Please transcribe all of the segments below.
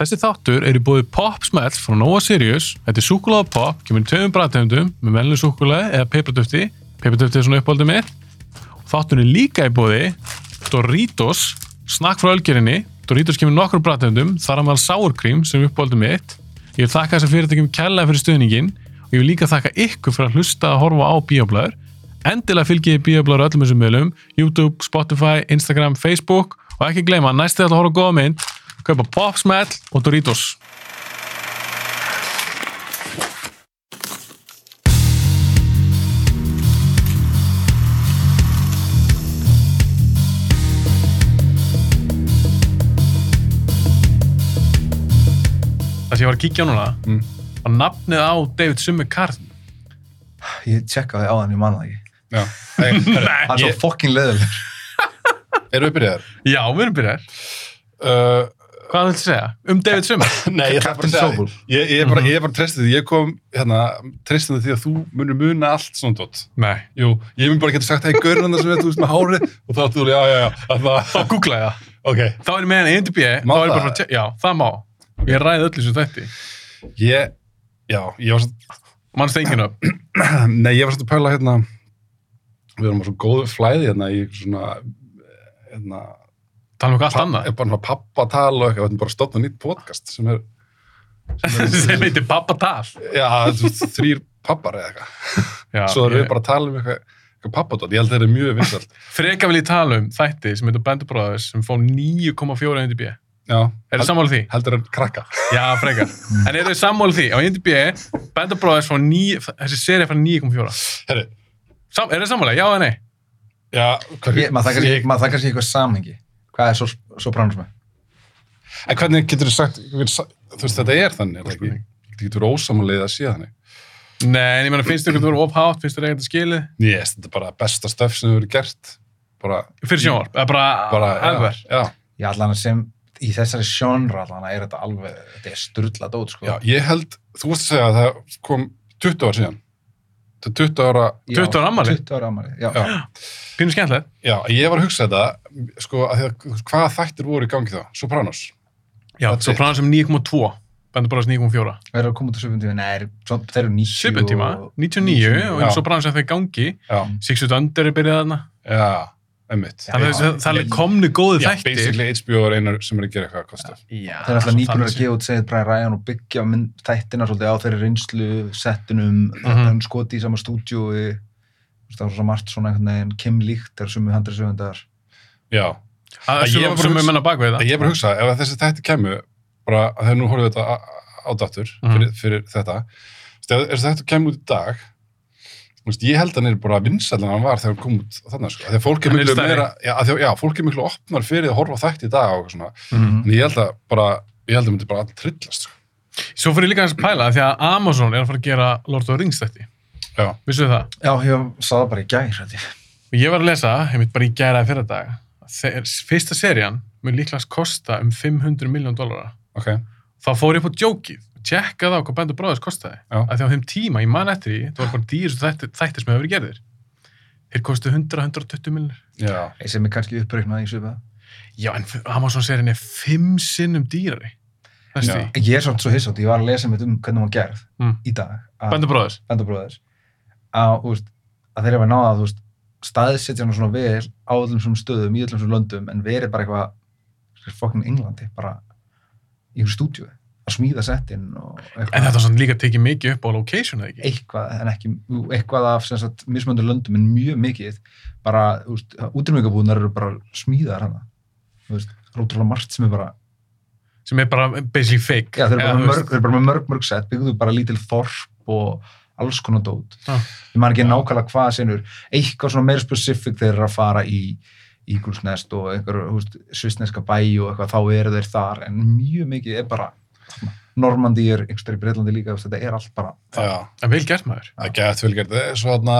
Þessi þáttur er í búið Popsmell frá Nova Sirius. Þetta er súkulega pop, kemur í tveimum bræðtegundum með melnum súkulega eða peipratöfti. Peipratöfti er svona uppáldið mitt. Þáttur er líka í búið Doritos, snakk frá ölgerinni. Doritos kemur í nokkrum bræðtegundum, þar að maður sárkrím sem er uppáldið mitt. Ég vil þakka þessar fyrirtækjum kærlega fyrir stuðningin og ég vil líka þakka ykkur fyrir að hlusta að horfa á bíoblæður. Endilega fylgjið bíoblæður öllum þessum meðlum, YouTube, Spotify, Instagram, Facebook og ekki gleyma, næstu þetta að horfa á góða mynd, kaupa Popsmell og Doritos. Það sem ég var að kíkja á núna, Mm. var nafnið á David Summerkarn. Ég tjekkaði á hann, ég man það ekki. Já, Nei, herru, Hann er Ég- svo fokkin leðileg. erum við byrjaðar? Já, við erum byrjar. Uh, Hvað viltu segja? Um David Summer? nei, ég ætla bara Captain að segja Sobel. því. Ég, ég, er bara, ég er bara treysti því, ég kom hérna, treysti því að þú munir muna allt svona dott. Nei. Jú, ég mun bara geta sagt, hei, gaurinn hann sem er, þú veist, með hárið og þá þú, já, já, já, að Þá það, googlaði ég það. ok. Þá er ég með hann í MDB. Má Þá er ég bara það? að tjekka. Já, það má. Ég ræði öllu sem þetta. Ég, já, ég var svona, Mann stengin upp. nei, ég var svona að pæla hérna, við erum á svo góðu flæði hérna í svona, hérna, Tala um eitthvað allt pa- annað. er bara svona pappatal og eitthvað, við erum bara stótt og nýtt podcast sem er, Sem heitir Pappa Tal. já, þú veist, þrýr pappar eða eitthvað. Já, svo erum ég- við bara að tala um eitthvað, eitthvað pappadótt, ég held að það er mjög vinsalt Freka vil ég tala um þætti sem heitir Band of Brothers sem fór 9,4 á MDB. já, Er held, það sammála því? heldur en krakka Já, frekar. En eru þið sammála því? Á MDB, Band of Brothers fór 9, þessi seri fór 9,4. Herri, Sam, er þið sammála? Já eða nei? já, hver, Ég- Maður þakkar ég, sér eitthvað samhengi. Hvað er svo, svo pránusmæð? en hvernig getur þú sagt getur sa- þú veist þetta er þannig, er það ekki þetta getur ósamalið að sé þannig Nei, en ég meina, finnst þið eitthvað of hátt? Finnst þið eitthvað skilið? yes, þetta er bara besta stöf sem hefur verið gert bara, Fyrir sjónvarp, eða bara, bara alver. já, já, Já, allan að sem í þessari sjónra allan að er þetta alveg, þetta er styrla dót, sko. já, ég held, þú veist að segja að það kom 20 ár síðan þetta er 20 ára, Já, 20 ára afmæli. 20 ára ammali, já. Já. Pínu skemmtilegt. já, ég var að hugsa þetta sko, að því að þú veist, hvaða þættir voru í gangi þá Sopranos, Já, That's svo it. plana sem 9,2 Band of Brothers 9,4 Við erum að koma út á 70, nei, er- svo- þeir eru 90. 7 tíma, 99 og eins og plana sem þeir gangi já, Six Foot Under er byrjað þarna já, einmitt Já, Þannig að það- það er komnu góðu Já, þættir basically HBO er einar sem er að gera eitthvað að kosta. Já, Þeir eru alltaf nýbúinir að Ah, þannig gefa út segið Brian Ryan og byggja mynd, þættina svolítið á þeirri reynslu, settunum, Mhm. hann skoti í sama stúdíói, þú veist, það var svo margt svona einhvern veginn, Kim Líkt er sumu 170. Já, sé. Að Ég Sumum var bara sumum hugsa- menna bak við en það ég er bara að hugsa, ef þessi þætti kemur, bara að þegar nú horfum við þetta á- á dáttur Mhm. fyrir, fyrir þetta, Þú veist, ef þessi þætti kemur út í dag, þú veist, ég held að hann er bara vinsælan hann var þegar hann kom út þarna, sko. Þegar fólk er Hann er miklu stærri. meira, já, af því að- já, fólk er miklu opnar fyrir að horfa á þætti í dag og eitthvað svona. Mhm. En ég held að bara, ég held að myndi bara allt trillast, sko. Svo fyrir ég líka hans að pæla því að Amazon er að fara að gera Lord of the Rings þætti Já, Vissu það? Já, ég sá það bara í gær, held ég. Og ég var að lesa, ég mitt bara í gæra fyrir dag Þegar fyrsta serían mun líklegast kosta um 500 miljón dólara ok, þá fór ég upp á jókið og tjekkaði á hvað Band of Brothers kostaði Já. að því á þeim tíma, ég man eftir því það var bara dýr þættir, þættir sem hefur verið gerðir þeir kostu 100-120 millir já, Ég sem er kannski uppreiknað í svipað. já, en Amazon-serin er fimm sinnum dýrari næstu Já. því, Ég er svolítið svo hissátt, ég var að lesa mitt um hvernig hún var gerð Mm. í dag að Band of Brothers bandabróðir að, þú veist, að þeir hafa náða að þú veist, staðsetja hann svona vel á öllum svona stöðum, í öllum svona löndum en verið bara eitthvað fokkin Englandi, bara í einhverju stúdíu að smíða settinn og eitthvað, en þetta var svona líka tekið mikið upp á location eða ekki eitthvað en ekki, jú, eitthvað af sem sagt, mismöndu löndum en mjög mikið bara, þú veist, útrýmingabúðunar eru bara smíðar hana, þú veist það er ótrúlega margt sem er bara, sem er bara basically fake já, þeir eru bara, Eða, þú með mörg, veist, þeir eru bara með mörg, mörg sett, byggðu bara lítil þorp og alls konar dót. Já. Ég man ekki Já. nákvæmlega hvað senur, eitthvað svona meira specific þeir eru að fara í Ígulsnest og einhver, þú veist, svissneska bæ og eitthvað, þá eru þeir þar, en mjög mikið er bara, Normandi er einhverstað í Breitlandi líka, þú veist, þetta er allt bara, já, en vel gert maður það er gett vel gert. Það er Svo þarna,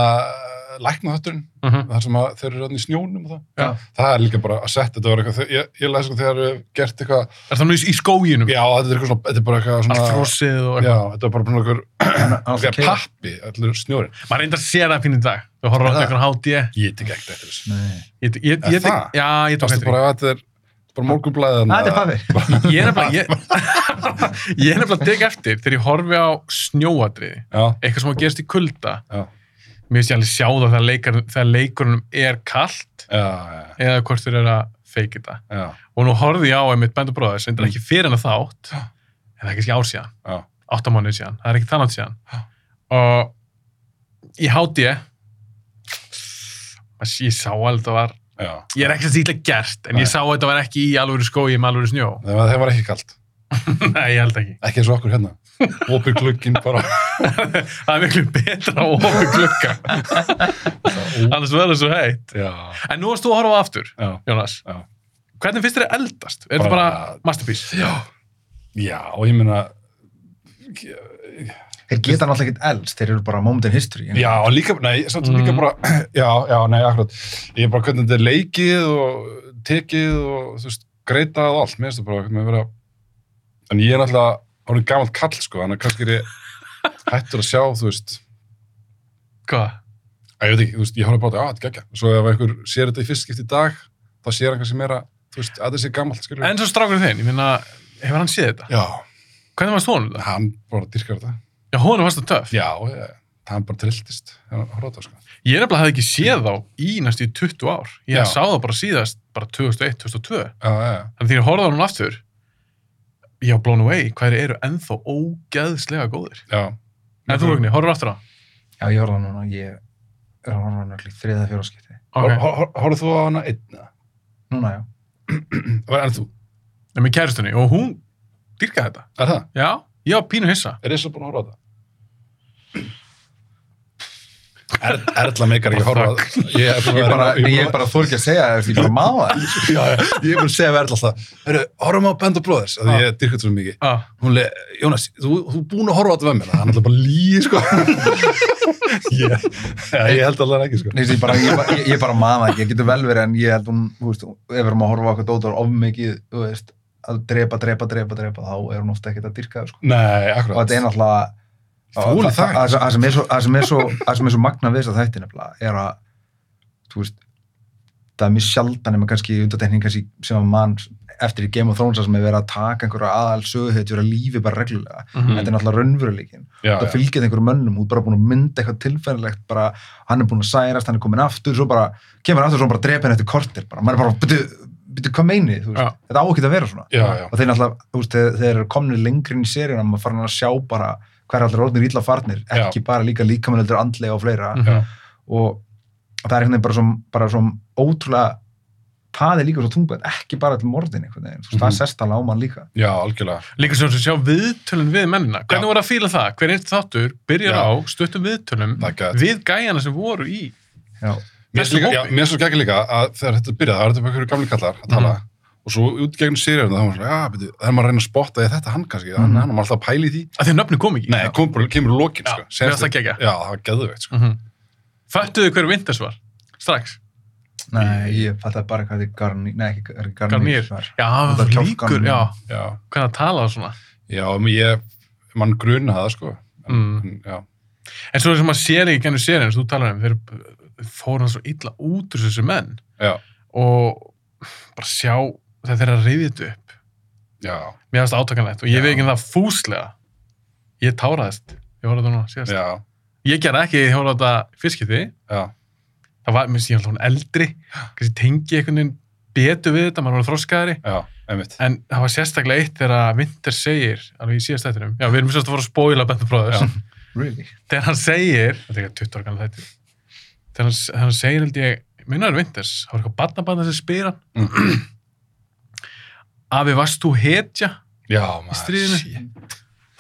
lækna þátturinn, uh þar sem að þeir eru þarna í snjónum og það. Já. Það er líka bara að setja, þetta var eitthvað, ég, ég læs sko þegar þeir eru gert eitthvað, er það nú í, í skóginum já, þetta er eitthvað svona, þetta er bara eitthvað svona, allt frosið og já, þetta er bara bara eitthvað, annars eitthvað pappi, allir snjórin. maður reyndar að sé það fyrir í dag þú horfður á Er það? einhvern hátíð ég, Ég tek ekkert eftir þessu. Nei, ég, ég, Er ég, það? já, ég tók Það er eftir því. bara, þetta er bara morgunblæðan. Að þetta er pappi. ég er bara ég, Ég er nefnilega að degja eftir þegar ég horfi á snjóadriði, já, eitthvað sem að gerst í kulda. já, Mér sé alveg sjá það þegar, leikar, þegar leikurunum er kallt já, já, eða hvort þeir eru að feiki þetta. já, Og nú horfði ég á einmitt Band of Brothers, sem er ekki fyrir hennar þátt, en það er kannski ár síðan, Mm. já, átta mánuð síðan, það er ekki þannig síðan. Og ég háti ég, ég sá alveg það var, já. ég er ekki svo stíla gert, en Nei. ég sá að þetta var ekki í alvöru skói með alvöru snjó. Það var, það var ekki kalt. Nei, ég held ekki. Ekki eins og okkur hérna. Opið glugginn bara. Það er miklu betra að ofa klukka, annars verður svo heitt. Já, En nú varst þú að horfa á aftur, já. Jónas. Já. Hvernig finnst þér að eldast? Er þetta bara Bara- masterpiece? Já. Já, og ég meina, Þeir geta náttúrulega ekkert elst, þeir eru bara moment in history. já, og líka, nei, samt Mm. líka bara, já, já, nei, akkurat. Ég er bara hvernig þetta er leikið og tekið og, þú veist, greitað og allt, mér finnst það bara, hvernig að vera, en ég er náttúrulega, orðin gamalt kall, sko, þannig að kannski er ég hættur að sjá, þú veist, Hvað? að ég veit ekki, þú veist, ég horfði bara á þetta, að þetta gegja. Svo ef einhver sér þetta í fyrst skipt í dag, þá sér hann kannski meira, þú veist, að þetta sé gamalt, skilur. En svo strákur þinn, ég meina, hefur hann séð þetta? Já, Hvernig varst honum það? hann bara dyrkar þetta. Já, honum varst það töff. Já, ég, hann bara trilltist, hann horfði á þetta, sko. Ég nefnilega hafði ekki séð þá í næstu í 20 ár. Ég Já. sá það bara síðast, bara 2001, 2002. Já, já, já. Þannig því ég horfði á hann aftur, ég á blown away, hvað þeir eru ennþá ógeðslega góðir. Já. En þú, Rögni, horfðu aftur á? hann? já ég horfði á hann núna, ég er að horfa á hann allir þriða fjóra skipti. Okay. Ok, Horfðu þú á hana einna? Núna, já. Er þú? en með kæristunni, og hún dyrkaði þetta. Er það? Já, ég var pínu hissa. Er Issa búin að horfa á það? Er, erla meikar ekki að horfa á það. Ég er Ég búin er að bara, vera- ég er bara þór ekki að segja það, ég er bara að maða það. Já, já, ég er búin að segja við Erla alltaf. Hörru, horfum á Band of Brothers, af því ég dyrkut svo mikið. Ah. Hún le, Jónas, þú, þú er búin að horfa á þetta með mér. Það er alltaf bara líi, sko. ég, ja, ég held alltaf ekki, sko. Nei, ég er bara, ég, bara- ég, ég er bara að maða það ekki, ég getur vel verið en ég held hún, þú veist, ef við erum að horfa á okkur dótar of mikið, þú veist, að drepa, drepa, drepa, drepa, þá er hún ofta ekkert að dyrka það, sko. Og Nei, þetta er akkurat. náttúrulega, Þóli það- það. það- það- það sem er svo- það sem er svo, það sem er svo magna við þess að þætti nefnilega, er að, þú veist, það er mjög sjaldan nema kannski undartekning kannski sem að mann eftir í Game of Thrones þar sem er verið að taka einhverja aðal söguhetjur að lífi bara reglulega. Mhm. Þetta er náttúrulega raunveruleikin Já, það fylgjast einhverjum mönnum, hún er bara búin að mynda eitthvað tilfæðilegt, bara hann er búin að særast hann er komin aftur, svo bara, kemur aftur svo bara drepa henni eftir kortir, bara, maður er bara byrju, byrju, hvað meini, þú veist, þetta á ekki að vera svona já, já. og þeir náttúrulega, þú veist, þegar þeir eru komnir lengri inn í seríuna, maður farin að sjá bara hver allir orðnir ítla farnir, ekki bara líka líkamanöldur andlega og fleira Mhm. Já. og það er einhvern veginn bara som, bara som ótrúlega það er líka svo tungbætt, ekki bara til morðin einhvern veginn, þú veist, það Mhm. sest alveg á mann líka Já, algjörlega. Líka sem sem sjá viðtölun við mennina. Hvernig Já. voru að fíla það? Hver eitt þáttur byrjar Já. á stuttum viðtölum Það er gæt. við gæjana sem voru í. Já. Mér finnst Þessu líka, hópi. já, mér finnst svo gegn líka að þegar þetta byrjaði, það var þetta bara einhverju gamli kallar að tala og svo út í gegnum sérjörna þá var maður svona, já, beti, það er maður að reyna að spotta eða þetta hann kannski, hann, Mhm. hann var alltaf að pæla í því. Að því að nöfni kom ekki. Nei, kom, bara- kemur lokin, Já, sko. mér Sérst- finnst það geggjað. Já, það var geðveikt, sko. Mm -hmm. Föttuðu hver Vinters var? Strax. Nei, ég fattaði bara hvað þetta er Garnier, nei ekki Garnier, Garnier. var. Já, hann Þetta var er líkur. kjálkanum. Já, Já, hvernig að tala og svona. já, um ég, mann gruna það, sko. En, Mm. en, já, En svo sem maður sér ekki gennum sérinn, þú talar um, þeir fóru hann svo illa út úr þessu menn já, og bara sjá þegar þeir eru að reyði þetta upp. já, Mér finnst það átakanlegt og ég Já. veit ekki um það fúslega. Ég táraðist. Ég horfði á þetta núna síðast. já, Ég gerði ekki, ég horfði á þetta fyrskipti. já, það var, mér finnst ég alltaf hún eldri kannski tengi einhvern veginn betur við þetta maður var þroskaðari, já, einmitt. en það var sérstaklega eitt þegar að Vinter segir, alveg í síðast þættinum já, við erum sérst að fara að spóila Band of Brothers Really? þegar hann segir, þetta er ekki 20 ára gamla þættir þegar hann, þegar hann segir held ég, minnar er Vinters, það var eitthvað barnabarna sem spyr hann Mm. afi, varst þú hetja? Já, maður. stríðinu. shit.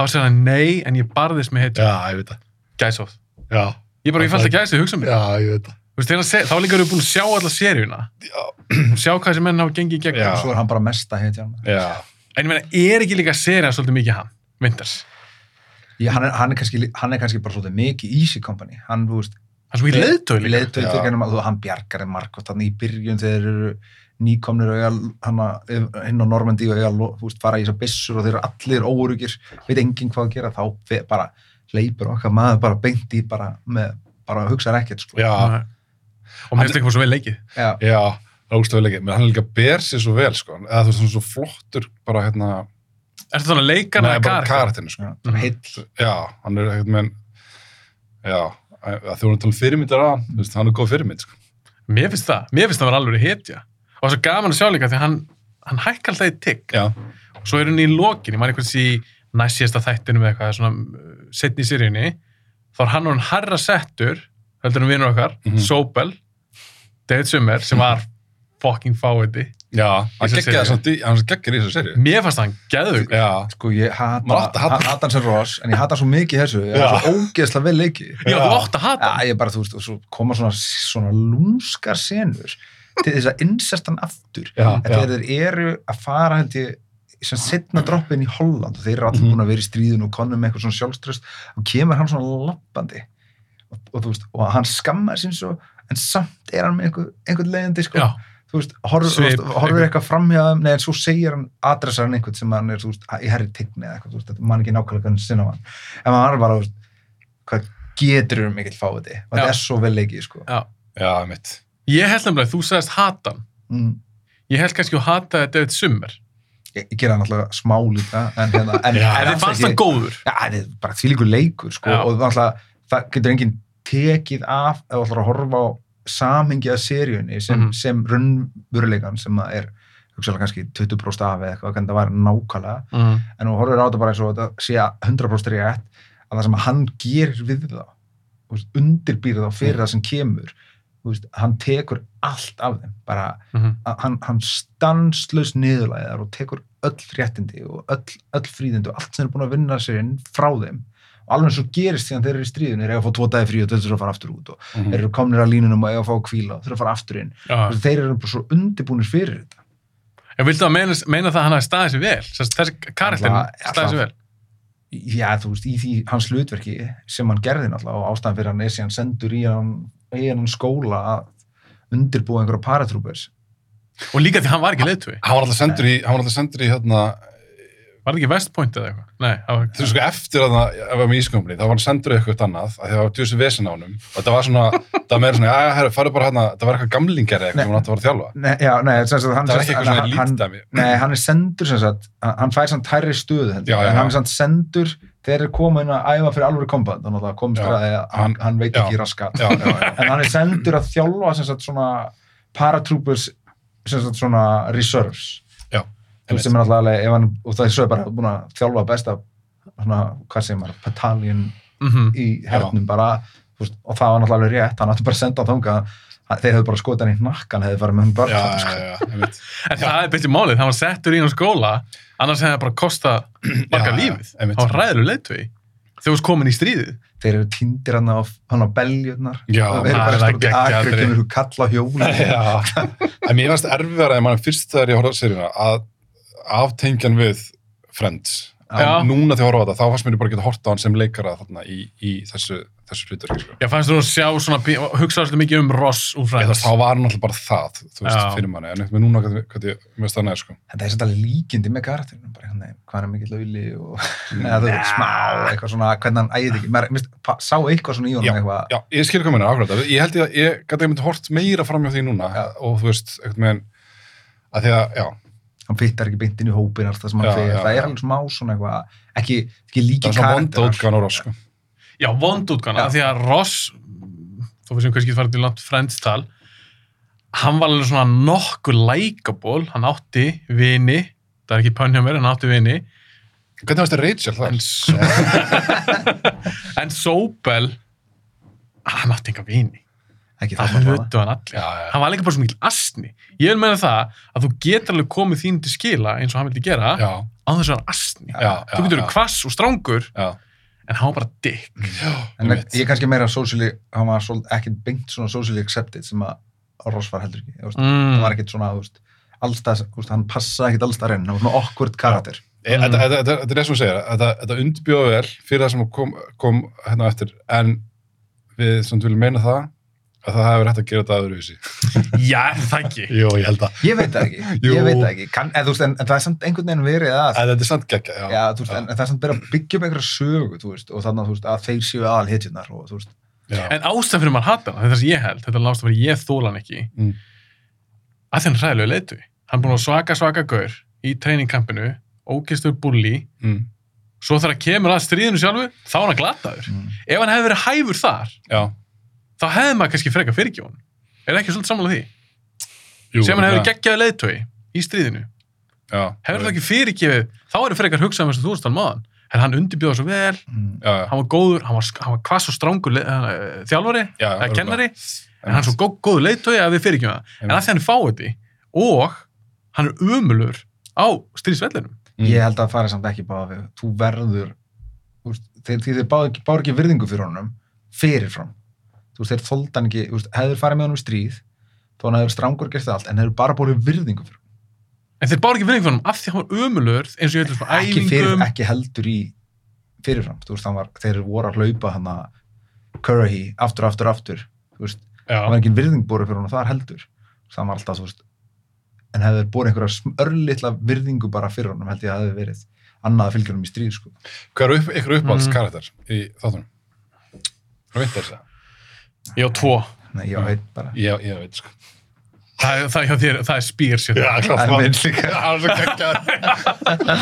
þá segir hann, nei, en ég barðist með hetja Já, ég veit það. gæsóð, Já, ég bara, ég fælt að gæsóð, hugsa mér já, ég veit það. Þú veist, þegar hann seg- þá líka eru búin að sjá alla seríuna Já. og sjá hvað þessi menn hafa gengið í gegn Já. Svo er hann bara mesta hetja hann. Já, En ég meina, er ekki líka serið svolítið mikið hann, Vinters? Ég, hann, er, hann, er kannski, lí- hann er kannski bara svolítið mikið Easy Company. Hann, þú veist, Það er svo í leiðtölu líka. leiðtöð Já. til hennum að hérna, þú- hann bjargar þeim margótt hann í byrjun þegar þeir eru nýkomnir og eiga hann að- inn á Normandi og eiga, lo- þú veist, fara í þessar byssur og þeir eru allir óörugir, veit enginn hvað að gera, þá fe- bara leipur okkar maður bara beint í bara með, bara hugsaði ekkert, sko. já, Nei. Og mér finnst ekki bara svo vel leikið. Já. Já, það er ógstu vel ekki, menn hann líka ber sér svo vel sko, eða þú veist, hann er svo flottur bara hérna, Ertu þannig að leikana Nei, eða bara karakter? karatinn, sko. Já, Mhm. heill. Já, hann er ekkert með, já, að þú erum að tala um fyrirmyndar að, þú veist, hann er góð fyrirmynd, sko. Mér finnst það, mér finnst það var alveg hetja. Og það er svo gaman að sjá líka því að hann, hann hækkar alltaf í tigg. Já, Og svo er hann í lokin, ég man einhvers í næst síðasta þættinum eða eitthvað, svona setni í sirjunni, þá er hann og hann harra settur, heldur hann vinnur okkar, Mhm. Sobel, David Summer, sem var fucking fáiði. já, hann Í þessari geggir seríu. þess að, hann geggir í þessu serju. Mér fannst hann geðug. Já, Sko, ég Maður hata, átti að hata. ha- hata hann sem Ross, en ég hata hann svo mikið í þessu. Ég Já. er svo ógeðslega vel leikið. Já, Já. þú ótt að hata. Já, ég bara, þú veist, og svo koma svona, svona lúmskar senur til þess að innsert hann aftur. já, En þegar þeir eru að fara, held ég, sem setna droppin í Holland og þeir eru allir Mhm. búin að vera í stríðinu og konum með eitthvað svona sjálfströst og kemur hann svona lappandi og, og þú veist, og hann skammar sín svo en samt er hann með einhver, einhvern leiðandi sko, Já, þú veist, horfur, Svip, Svip, horfur eitthvað framhjá þeim, nei en svo segir hann adressar hann einhvern sem hann er, þú veist, í herri tigni eða eitthvað, þú veist, þetta man ekki nákvæmlega hvernig sinna hann, en maður er bara, þú veist, hvað getur um mikill fáiði, og Já. þetta er svo vel leikið sko. já. já, mitt. Ég held nefnilega að þú sagðist hata hann. mm. Ég held kannski að hata David Summer. ég, ég gera hann alltaf smá líka en, hérna, en, Já. En þið en alls fannst hann ekki- góður. Já, það er bara þvílíkur leikur sko, Já. og náttúrulega, það getur enginn tekið af ef þú ætlar að horfa á samhengi að seríunni sem, Mhm. sem raunveruleikan sem það er hugsaðlega kannski 20% af eða eitthvað, hvernig það var nákvæmlega Mm. en þú horfir á þetta bara eins og þetta sé að 100% rétt að það sem hann gerir við þá þú veist, undirbýr þá fyrir það sem kemur þú veist, hann tekur allt af þeim bara Mhm. að hann, hann stanslaus niðurlæðar og tekur öll réttindi og öll, öll fríðindi og allt sem er búin að vinna sér inn frá þeim og alveg svo gerist því að þeir eru í stríðinu þeir eru að fá tvo dagi frí og þeir eru að fara aftur Mm. út og Mhm. þeir eru komnir að línunum og eiga að fá að kvíla og þeir eru að fara aftur inn Já. og þeir eru bara svo undirbúinir fyrir þetta En viltu að meina, meina það að hann hafi staðið sér vel? Sess, þessi karakterin Alla- staðið sér vel? já þú veist í því hans hlutverki sem hann gerði náttúrulega og ástæðan fyrir hann er síðan sendur í hann, í hann skóla að undirbúa einhverja paratroopers Og líka því hann var ekki leiðtögi. Hann var alltaf sendur í, hann var alltaf sendur í, hérna, Var það ekki West Point eða eitthvað? Nei, það var þú veist, sko, eftir að það, ef við varum í ískömmni, þá var hann sendur í eitthvað annað, að því það var djúsi vesen á honum, og það var svona, það var meira svona, já, herru, farðu bara hérna, það var eitthvað gamlingar eða Nei. eitthvað, sem hann átti að fara að þjálfa. nei, já, nei, sem sagt, hann, Það sem var ekki eitthvað sagt- svona hann- lítdæmi. Nei, hann er sendur sem sagt, hann hann fær samt hærri stöðu heldur, Já, já, en hann já. er samt sendur þegar þeir koma inn að æfa fyrir alvöru kombat þannig að það komst Já, að því að hann, hann- hann veit já. ekki raskat Já, já, já. en hann er sendur að þjálfa sem sagt svona paratroopers sem sagt svona reserves Já, Þú veist, sem er alltaf alveg, ef hann, og það er svo bara búin að þjálfa besta svona, hvað segir maður, battalion Mhm. í hernum bara þú veist, og það var náttúrulega alveg rétt, hann átti bara að senda þangað hann- þeir hefðu bara skotið hann í hnakkan hefðu farið með sko. hann bara já, já, já, einmitt. En það er byrjum málið, hann var settur í hann skóla, annars hefði það bara kosta marga Já, lífið. einmitt. Hann var ræðileg leiðtögi. Þegar þú veist komin í stríðið. þeir eru tindir hann á, hann á belgjurnar Já, það það er er það bara stórt í geggjað akkur atriði. kemur hún kalla á hjóli Já, en mér varst erfiðar að mann fyrst þegar ég horfði á seríuna að aftengjan við Friends en Já. núna þegar ég horfði á þetta þá fannst mér ég bara að geta horta á hann sem leikara þarna í, í þessu, þessu hlutur sko. Já, fannst þú að sjá svona, pí- og hugsa alltaf mikið um Ross úr Eða fræðis. þá var hann alltaf bara það þú veist, Já. fyrir manni, en eitthvað núna hvað, hvað ég veist það neður sko. þetta er svolítið líkindi með karakterinu bara hann hvað hann er mikill auðli og neða, þú veit, smá eitthvað svona hvernig hann æði ekki Maður, mist, pa, sá eitthvað svona í honum eitthvað Já, ég skil kominu, akkurat ég held ég að ég gæti einmitt hort meira framjá því núna Já. og þú veist, eitthvað með að því að, já, hann fittar ekki beint inn í hópin allt það sem hann Já, fyrir já, það já. er alveg smá svona eitthvað ekki, ekki það líki er svona vonda karakterar útgáðan á rás sko. Já, vond útgana, Já. af því að Ross, þó við sem kannski farið til langt frendtal, hann var alveg svona nokkuð likeable, hann átti vini, það er ekki pönn hjá mér, hann átti vini, hvernig varst það Rachel en, þar? S- en Sobel, hann átti enga vini, ekki það það sem hann var. hlutu hann allir. Já, já, Hann var líka bara svo mikil astni. Ég vil meina það að þú getur alveg komið þín til skila eins og hann vildi gera já, á þessu hann astni. já, já, Þú getur já, verið kvass og strángur já, en hann var bara dick. já, en einmitt. ég er kannski meira socially hann var svol- ekki beint svona socially accepted sem að Ross var heldur ekki þú veist. Mm. hann var ekkert svona, þú veist, allstað, þú veist, hann passaði ekkert allstað reyn, hann var svona awkward karakter. E- Mm. Þetta þetta- þetta- þetta er það sem þú segir, þetta, þetta undbjóðu vel fyrir það sem kom, kom hérna á eftir, en við sem viljum meina það, að það hefur hægt að gera þetta öðruvísi. Já, er það ekki. Jú, ég held að. Ég veit það ekki, Jú. ég veit það ekki, kann, en, þú veist, en, en það er samt einhvern veginn verið að, En þetta er samt geggja, já. já, þú veist, en, en það er samt verið að byggja upp einhverja sögu, þú veist, og þannig að, þú veist, að þeir séu aðal hitjunar og, þú veist, já. En ástæðan fyrir maður hata hann, þetta er það sem ég held, þetta er ástæðan fyrir ég þóla hann ekki, Mm. að því hann er ræðilegu leitu. Hann er búin að vera svaka, svaka gaur í treiningkampinu ógistur bulli Mm. svo þegar hann kemur að stríðinu sjálfur þá er hann glataður Mm. ef hann hefði verið hæfur þar Já. þá hefði maður kannski frekar fyrirgjóðan er ekki svolítið sammála því Jú, sem hann hefur það- geggjaði leiðtögi í stríðinu Já. hefur það ekki fyrirgefið þá er frekar hugsað með þess að þú veist hann maðan en hann undirbjóða svo vel Mm. Já, já. hann var góður, hann var, sk- hann var hvað svo strángur le- eh, þjálfari, Já, eða örugglega. kennari en hann er svo góð, góður leiðtögi að við fyrirgjóðum það en að því hann er fáiði og hann er umulur á stríðsvellinum Mm. Ég held að það fari samt ekki báða við. Þú verður, þú veist, þeir, þeir, þeir báðu ekki, báðu ekki virðingu fyrir honum, fyrirfram. Þú veist, þeir þóldi hann ekki, þú veist, hefur farið með honum í stríð, þó hann hefur strangur gert það allt, en hefur bara bórið virðingu fyrir honum. en þeir bára ekki fyrir einhvernum af því hann var umulur eins og ég heldur svona Ekki, fyrir, æfingum ekki heldur í fyrirfram. Þú veist, hann var, þeir voru að hlaupa hann að Curry aftur, aftur, aftur. Þú veist, Já. það var ekki virðing bórið fyrir honum þar heldur. Það var alltaf, þú veist, en hefur bórið einhverja sm- örlitla virðingu bara fyrir honum, held ég að það hefði verið annað að fylgja honum í stríð, sko. Hvað er upp, ykkur uppáhalds Mm. karakter í þáttunum? Hvað veit þess að? ég á tvo, Nei, ég Mm. veit bara. Ég, ég veit, sko. það, er- það, hjá þér, það er spýr sér klart. Það er minn líka. Það er svo kakkar.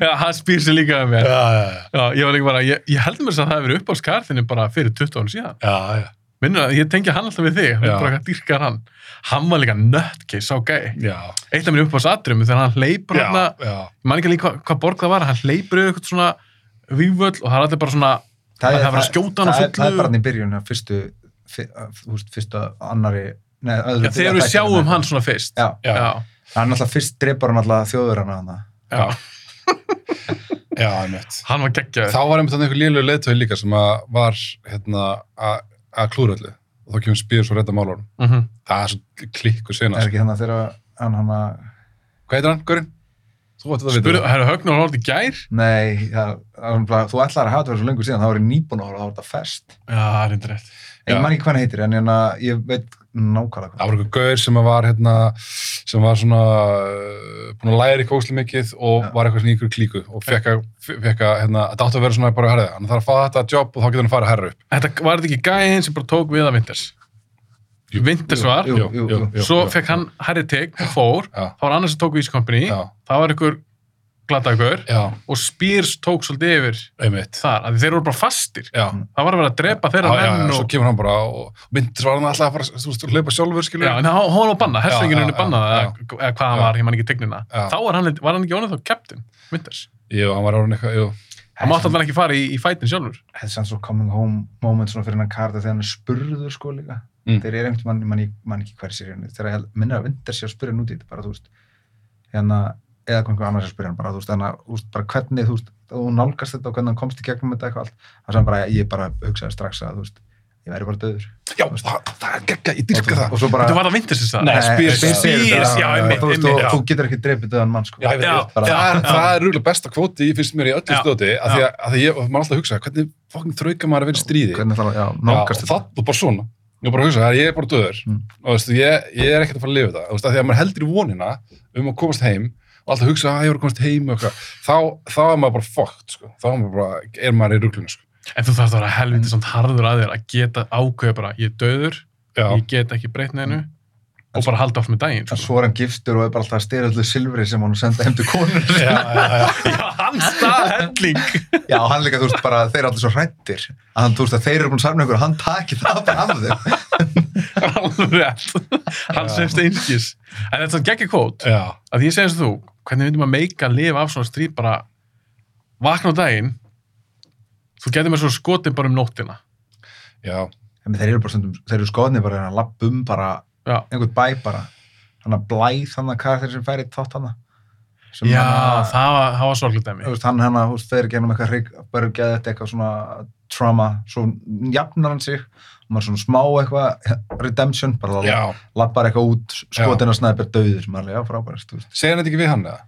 Já, hann spýr sér líka um mér Já, já, já. Já, ég var líka bara, ég, ég heldur mér þess að það hefur verið upp á skarðinni bara fyrir 20 ára síðan. Já, já. Minnur að ég tengi hann alltaf við þig, hann Já. er bara hvað dýrkar hann. Hann var líka nöttkei, sá gæi. Já, Eitt af mér upp á satrum þegar hann hleypur hann, já, ég man ekki líka hvað, hvað borg það var, hann hleypur yfir eitthvað svona vývöll og það er allir bara svona, Það er bara að skjóta hann á það er- fullu. Það er bara hann í byrjun, að fyrstu, fyr, fyrst, fyrstu annari, nei, öðru. já, þegar við þættinum. sjáum hann svona fyrst. hérna. Já, já, já, hann alltaf fyrst drepar hann alltaf þjóður hann að hann. já. já, einmitt. hann var geggjaður. Þá var einmitt þannig einhver lélugur leiðtögi líka sem að var, hérna, að- að klúra öllu. Og þá kemur spyr svo redda málunum. Mm -hmm. Það er svo klikku Er sena. sko. ekki þannig að þegar hann hann að, Hvað heitir hann, Görin? Þú ætti það að Spurðu, vita. herru, Högn var orðið í gær? nei, það, hann bara, þú ætlar að hafa þetta verið svo lengur síðan, þá er ég nýbúin að horfa, þá er þetta fest. Já, það er reyndir rétt. En Já. ég man ekki hvað hann heitir, en ég, ég veit nákvæmlega Það hvað. var einhver gaur sem að var, hérna, sem var svona uh, búinn að læra í kósli mikið og Já. var eitthvað svona í ykkur klíku og fekk að, fekk að hérna, þetta átti að vera svona bara að herða. Hann þarf að fá þetta jobb og þá getur hann að fara að herra upp. Þetta var þetta ekki gæin sem bara tók við að Vinters? Jú. Vinters var, Jú, jú, jú. svo fekk hann Harry Tick og fór, Já, þá var annars sem tók við Ískompany, já, það var einhver glatagur já, og Spears tók svolítið yfir einmitt. þar, að þeir voru bara fastir Já, það var að vera að drepa já, þeirra já, já, menn svo og kemur hann bara og myndir var hann alltaf að fara, þú veist, að hlaupa sjálfur, skilur. já, en það- hún var bannað, Já, já, hersvinginu já, bannað já. eða eða hvað hann Já. var, ég man ekki tegnina Já. þá var hann, var hann ekki ónið þá captain Winters, Jú, hann var orðin eitthvað, jú. hann mátti alltaf ekki fara í, í fætin sjálfur þetta er sann svo coming home moment svona fyrir hennar karta þegar hann er spurður sko líka Mm. þeir eru einhvern mann, mann, mann ekki hver sér henni þegar ég minnir að vindar sér að spurja hann út í þetta bara þú veist hérna, eða hvað einhver annar sér að spurja hann bara þú veist, hana, þú veist bara hvernig þú veist þú nálgast þetta og hvernig hann komst í gegnum þetta eitthvað allt það sem bara ég bara hugsaði strax að þú veist ég væri bara döður Já, það, það er geggja, ég og, dyrka þú- það. og svo bara þetta var það Winters þess að Nei, Spears- Spears segir þetta, Spears, já, einmitt, þú, veist, einmitt, og, já. þú getur ekki drepið döðan mann sko Já, ég veit, Já, ég veit. bara, það er, það er rúglega besta kvóti finnst mér í öllu Já, stóti af því já. að, að því ég, og maður alltaf að hugsa hvernig fokkin þrauka maður að vera í stríði hvernig það, já, Já, nálgast og það og bara svona ég er bara að hugsa, það er- ég er bara döður Mm. og veistu, ég, ég er ekkert að fara að lifa þetta veistu, af því að maður heldur í vonina um að komast heim og alltaf hugsa að ég voru komast heim og eitthvað. þá, þá er maður bara fokkt sko. þá er maður, bara, er maður í ruglunum sko. en þú þarf það að vera helviti samt harður að þér að geta ákveða bara, ég er döður já, ég get ekki breytt neðinu og bara halda áfram með daginn sko. en svo er hann giftur og er bara alltaf að styrja öllu silfri sem hann senda heim til konur já, já, já. Já, hann stað helling Já, og hann líka, þú veist, bara, þeir eru allir svo hrættir að hann, þú veist, að þeir eru búin að sarna ykkur og hann taki það bara af þeim. alveg rétt hann Já. semst einskis en þetta er geggja kvót já. að ég segi eins og þú hvernig myndum að meika að lifa af svona stríð bara vakna á daginn þú getur með svo skotin bara um nóttina já. En þeir eru bara stundum, þeir eru skoðnir bara að lappa um bara Já. einhvern bæ bara. Hann að blæð hann að karakter sem færi þátt hann sem já, hann að, það var, það var sorglega dæmi þú veist, hann hann að, þú veist, þeir genum eitthvað hrygg, bara geða þetta eitthvað svona trauma, svo jafnar hann sig og maður svona smá eitthvað redemption, bara já. lappar eitthvað út skotin að snæða bara döður, maður, já, frábærast, þú veist, segja hann þetta ekki við hann eða?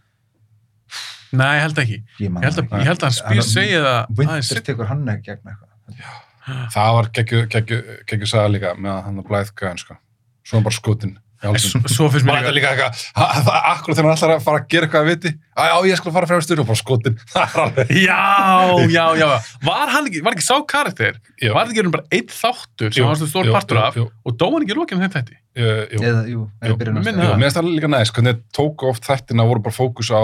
nei, ég held ekki ég man ég held það að, ekki. ég held að hann spýr Hann- segja það aðeins Winters tekur hann ekki gegn eitthvað. það var geggju geggju- geggju saga líka með að hann að blæð gæðin sko. svo hann bara skotin Í hálsinn. S- svo finnst mér Bara þetta líka líka eitthvað, ha- það- akkurat þegar hann ætlar að fara að gera eitthvað að viti, "Á, já, ég skal fara fremstur og bara skotin, það er alveg, já, já, já, var hann ekki var ekki sá karakter, Jú. var ekki bara einn þáttur sem Jú, hann var svo stór jú, partur jú, af jú. og dó hann ekki í lokinn af þeim þætti Jú, jú. eða, jú, Jú, eða byrjun minna næsta. það. Já, mér finnst það líka næst, hvernig þeir tóku oft þættina og voru bara fókus á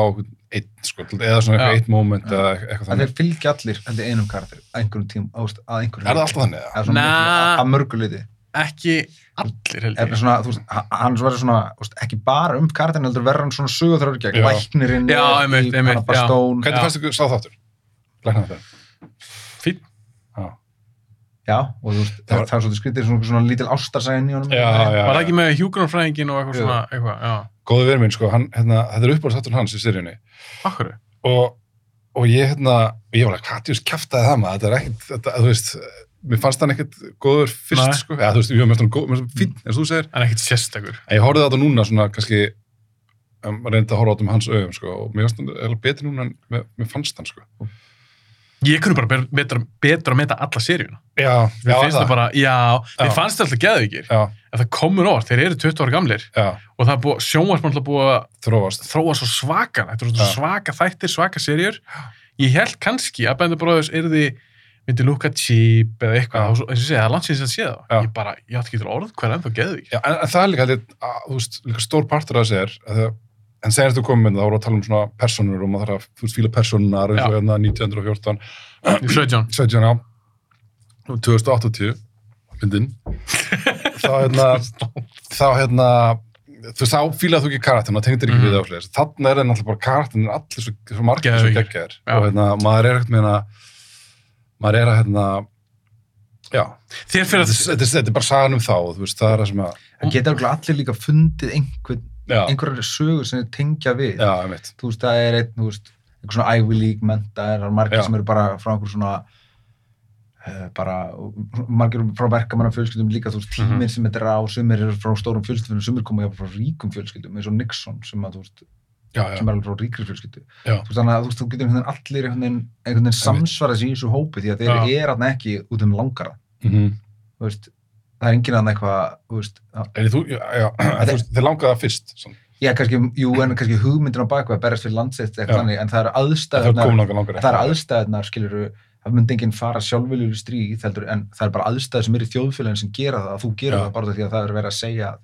einn, sko, eða svona eitthvað Já. eitt moment Já. eða eitthvað að þannig. þeir fylgja allir held ég, einum karakter á einhverjum tím, ást, að einhverjum Er það alltaf þannig? eða? Eða svona Nah. miklu- að- að mörgu liti ekki allir held Eða ég svona, þú veist, ha- hann verður svona þú veist, ekki bara um karakterin, heldur verður hann svona sögur þrjóður gegn, Já. læknirinn Já, er í einmitt, einmitt, hana já. bastón Hvernig Já. fannst ykkur sá þáttur? Læknar þetta? Fínn. Já, já, og þú veist, Það það, var- það er svona skrítið svona, svona lítil ástarsæðin í honum já, já. var það ekki með hjúgrunfræðingin og eitthvað Jú. svona eitthvað, já, Góði verið minn, sko, hann, hérna, þetta er uppáðast þáttur hans í seríunni akkur og, og ég, hérna, ég var alveg, Katjus kjaftaði það maður, þetta er ekkit, þetta, þú veist, mér fannst hann ekkit góður fyrst, Nei. sko, eða þú veist, ég var mjög fín, eins og þú segir, en ekkert sérstakur En ég horfði á þetta núna svona kannski um, reyndi að horfa á þetta með hans auðum sko, og mér fannst hann eiginlega betri núna en mér, mér fannst hann sko. ég kunni bara ber- betra, betra að meta alla seríuna Já, já, mér finnst það bara, já, mér Já. fannst það alltaf geðvíkir Já, en það komur orð, þeir eru 20 ára gamlir já, og það er búið, sjónvarsmann alltaf búið að þróast. þróa svo svakan, þetta eru svo Já. svaka þættir, svaka serjur. Ég held kannski að Bender Brothers yrði myndi lúka cheap eða Já. eitthvað, og svo- eins og ég segi, það er langt síðan sem sé það. Já. Ég bara, ég átti ekki til orð, hvað er ennþá geðvík? Já, en, en það er líka, held ég, að, þú veist, líka stór partur að þessi er, að það, en segir þú komið með það, þá voru að tala um svona personur og maður þarf að þú veist, fíla personunar eins og hérna 1914, Í 17. 17 á, 2080, myndin, þá hérna, þá hérna þú sá fílað þú ekki karakterna, tengdir ekki Mhm. við áflýðis þannig er það náttúrulega bara karakterna allir svo, svo margir svo Geðveikir. geggjær Já. og hérna, maður er ekkert meina maður er að hérna já, Þér fyrir þetta, að þetta, þetta er bara sagan um þá þú veist, það er það sem að það geta örugglega allir líka fundið einhver, já, einhverjar sögur sem þeir tengja við já, einmitt þú veist, það er einn, þú veist, einhver svona Ivy League menta, það er margir Já. sem eru bara frá einhver svona eh, bara, margir eru frá verkamanna fjölskyldum líka, þú veist, tímir Mhm. sem þetta er á sumir eru frá stórum fjölskyldum, sumir koma jafnvel frá ríkum fjölskyldum, eins og Nixon sem að, þú veist, já, já, sem er alveg frá ríkri fjölskyldu Já. þú veist, þannig að þú, veist, þú getur einhvern veginn allir einhvern veginn, einhvern veginn samsvarað sér í þessu hópi því að þeir Já. eru þarna ekki út um langara, Mhm. þú veist það er enginn þarna eitthvað, þú veist að- en þú, já, já, en þú veist, þeir langaði það fyrst svona. já, kannski, jú, en kannski hugmyndin á bakveð berjast fyrir landsett Já. eitthvað þannig, en það eru en það aðstæðurnar kom langar langar það er aðstæðunar, skilur það myndi enginn fara sjálfviljur í stríð heldur, en það er bara aðstæður sem eru í þjóðfélagin sem gera það að þú gera Já. það bara út af því að það er verið að segja að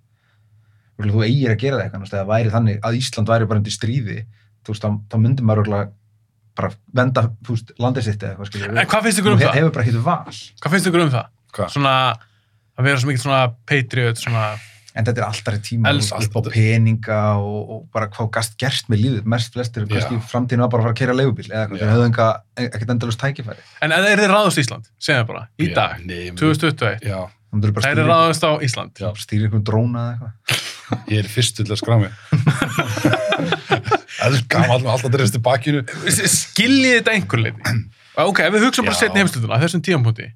örugglega þú eigir að gera það eitthvað þú veist, eða væri þannig að Ísland væri bara undir stríði þú veist, þá, þá myndi maður örugglega bara venda þú veist, landið sitt eða eitthvað skilur En hvað finnst ykkur um það? hefur bara ekkert val Hvað finnst ykkur um það? Hvað? Svona, að vera svo mikið svona patriot, svona, en þetta er alltaf í tíma Els- þú veist, upp á peninga og, og bara hvað gast gert með lífið mest flestir, Já. kannski framtíðinu var bara að fara að kera leigubíl eða eitthvað, Já. þeir höfðu enga- ekkert endalust tækifæri en ef þeir eru ráðast í Ísland, segjum það bara, í dag, 2021, já, Þeir þeir eru eru bara stýrið ráðast á Ísland. Já. stýri einhvern um dróna eða eitthvað ég er fyrst til að skrámi það er gaman alltaf að dreist í bakinu Skiljið þetta einhver leiti? Ok, ef við hugsaum bara Já. setni heimstunduna, þessum tímapunkti,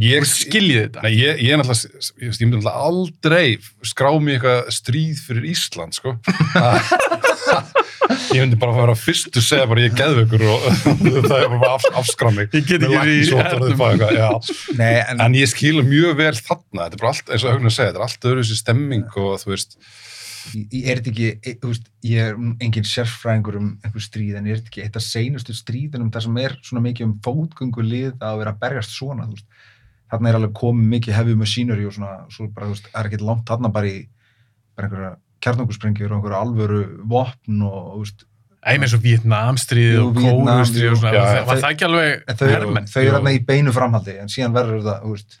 ég, skiljið þetta? Nei, ég, ég er náttúrulega, ég, veist, ég myndi náttúrulega aldrei skrá mig í eitthvað stríð fyrir Ísland, sko. ég myndi bara fara fyrst og segja bara ég er geðvökur og það er bara af, afskrá mig. Ég get Með ekki verið í læknisvottorðið hernum. bara eitthvað, já. Nei, en, En ég skila mjög vel þarna, þetta er bara allt, eins og auðvitað segja, þetta er allt öðruvísi stemming og þú veist, ég er þetta ekki, e- þú veist, ég er engin sérfræðingur um einhver stríð, en er þetta ekki eitt af seinustu stríðunum þar sem er svona mikið um fótgöngu lið að vera að berjast svona, þú veist. Þarna er alveg komið mikið hefðið machinery og svona, svo bara, þú veist, það er ekkert langt þarna bara í bara einhverja kjarnungursprengjur og einhverja alvöru vopn og, þú veist, Æ, með svo Vietnamstríðið Jú, og Víetnam, Kórustríðið og svona, jú. Já, var já. var það ekki alveg en þau, eru- hermenn? þau eru jú. þarna í beinu framhaldi, en síðan verður það, þú veist,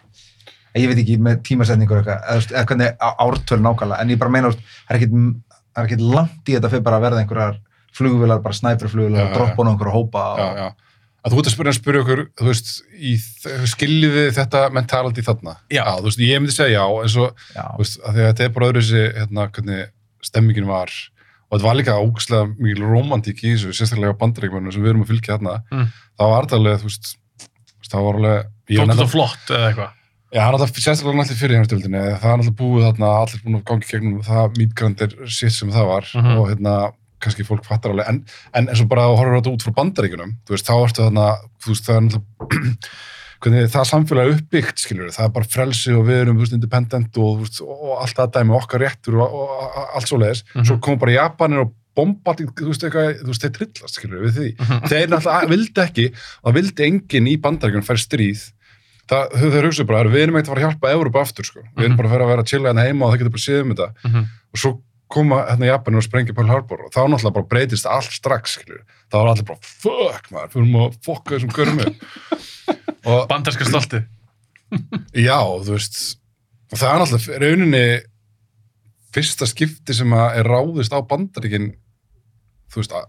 en ég veit ekki með tímasetningur eitthvað, eða, þú veist, eða hvernig á- ártöl nákvæmlega, en ég bara meina, þú veist, það er ekkit, það er ekkit langt í þetta fyrir bara að verða einhverjar flugvilar, bara Já, snæperflugvilar, já, ja, já. droppa hún einhverja hópa já, og, já. Að þú ert að spyrja, spyrja okkur, þú veist, í, skiljið þið þetta mentality þarna? Já. þú veist, ég myndi segja já, eins og já, Þú veist, af því að þetta er bara öðru þessi hérna, hvernig stemmingin var og þetta var líka ógæslega mikil romantík í þessu, sérstaklega á bandaríkmennum sem við erum að fylgja hérna Mm. það var þetta alveg, þú veist þú veist, það var alveg ég var Þóttu þetta nefnilega- flott eða eitthvað? Já, það er alltaf sérstaklega náttúrulega fyrir heimstöldinni það er alltaf búið þarna, allir búin að gangi gegnum það mýtgrandir sitt sem það var Mhm. og hérna, kannski fólk fattar alveg en, en eins og bara að horfa þetta út frá bandaríkunum þú veist, þá ertu þarna þú veist, það er náttúrulega hvernig það samfélag er uppbyggt, skiljur, það er bara frelsi og við erum, þú veist, independent og, þú veist, og allt það dæmi okkar réttur og, og, og allt svoleiðis. Mhm. Svo kom bara Japanir og bomba, til- þú veist, eitthvað, þú veist, þeir trillast, skiljur, við því. Mhm. Þeir náttúrulega vildi ekki, og það vildi enginn í bandaríkjunum færi stríð. Það, þau- þeir hugsaðu bara, "Herru, við erum ekkert að fara að hjálpa Európa aftur, sko. Við erum Mhm. bara að fara að vera að chilla hérna heima og það getur bara séð um þetta Mhm. og svo koma hérna Japanir og sprengja Pearl Harbor og þá náttúrulega bara breytist allt strax skilur. þá var allir bara fuck maður, fyrir maður að fokka þessum görmi og Bandarska stoltið. já, þú veist og það er náttúrulega rauninni fyrsta skipti sem að er ráðist á bandaríkin þú veist, að,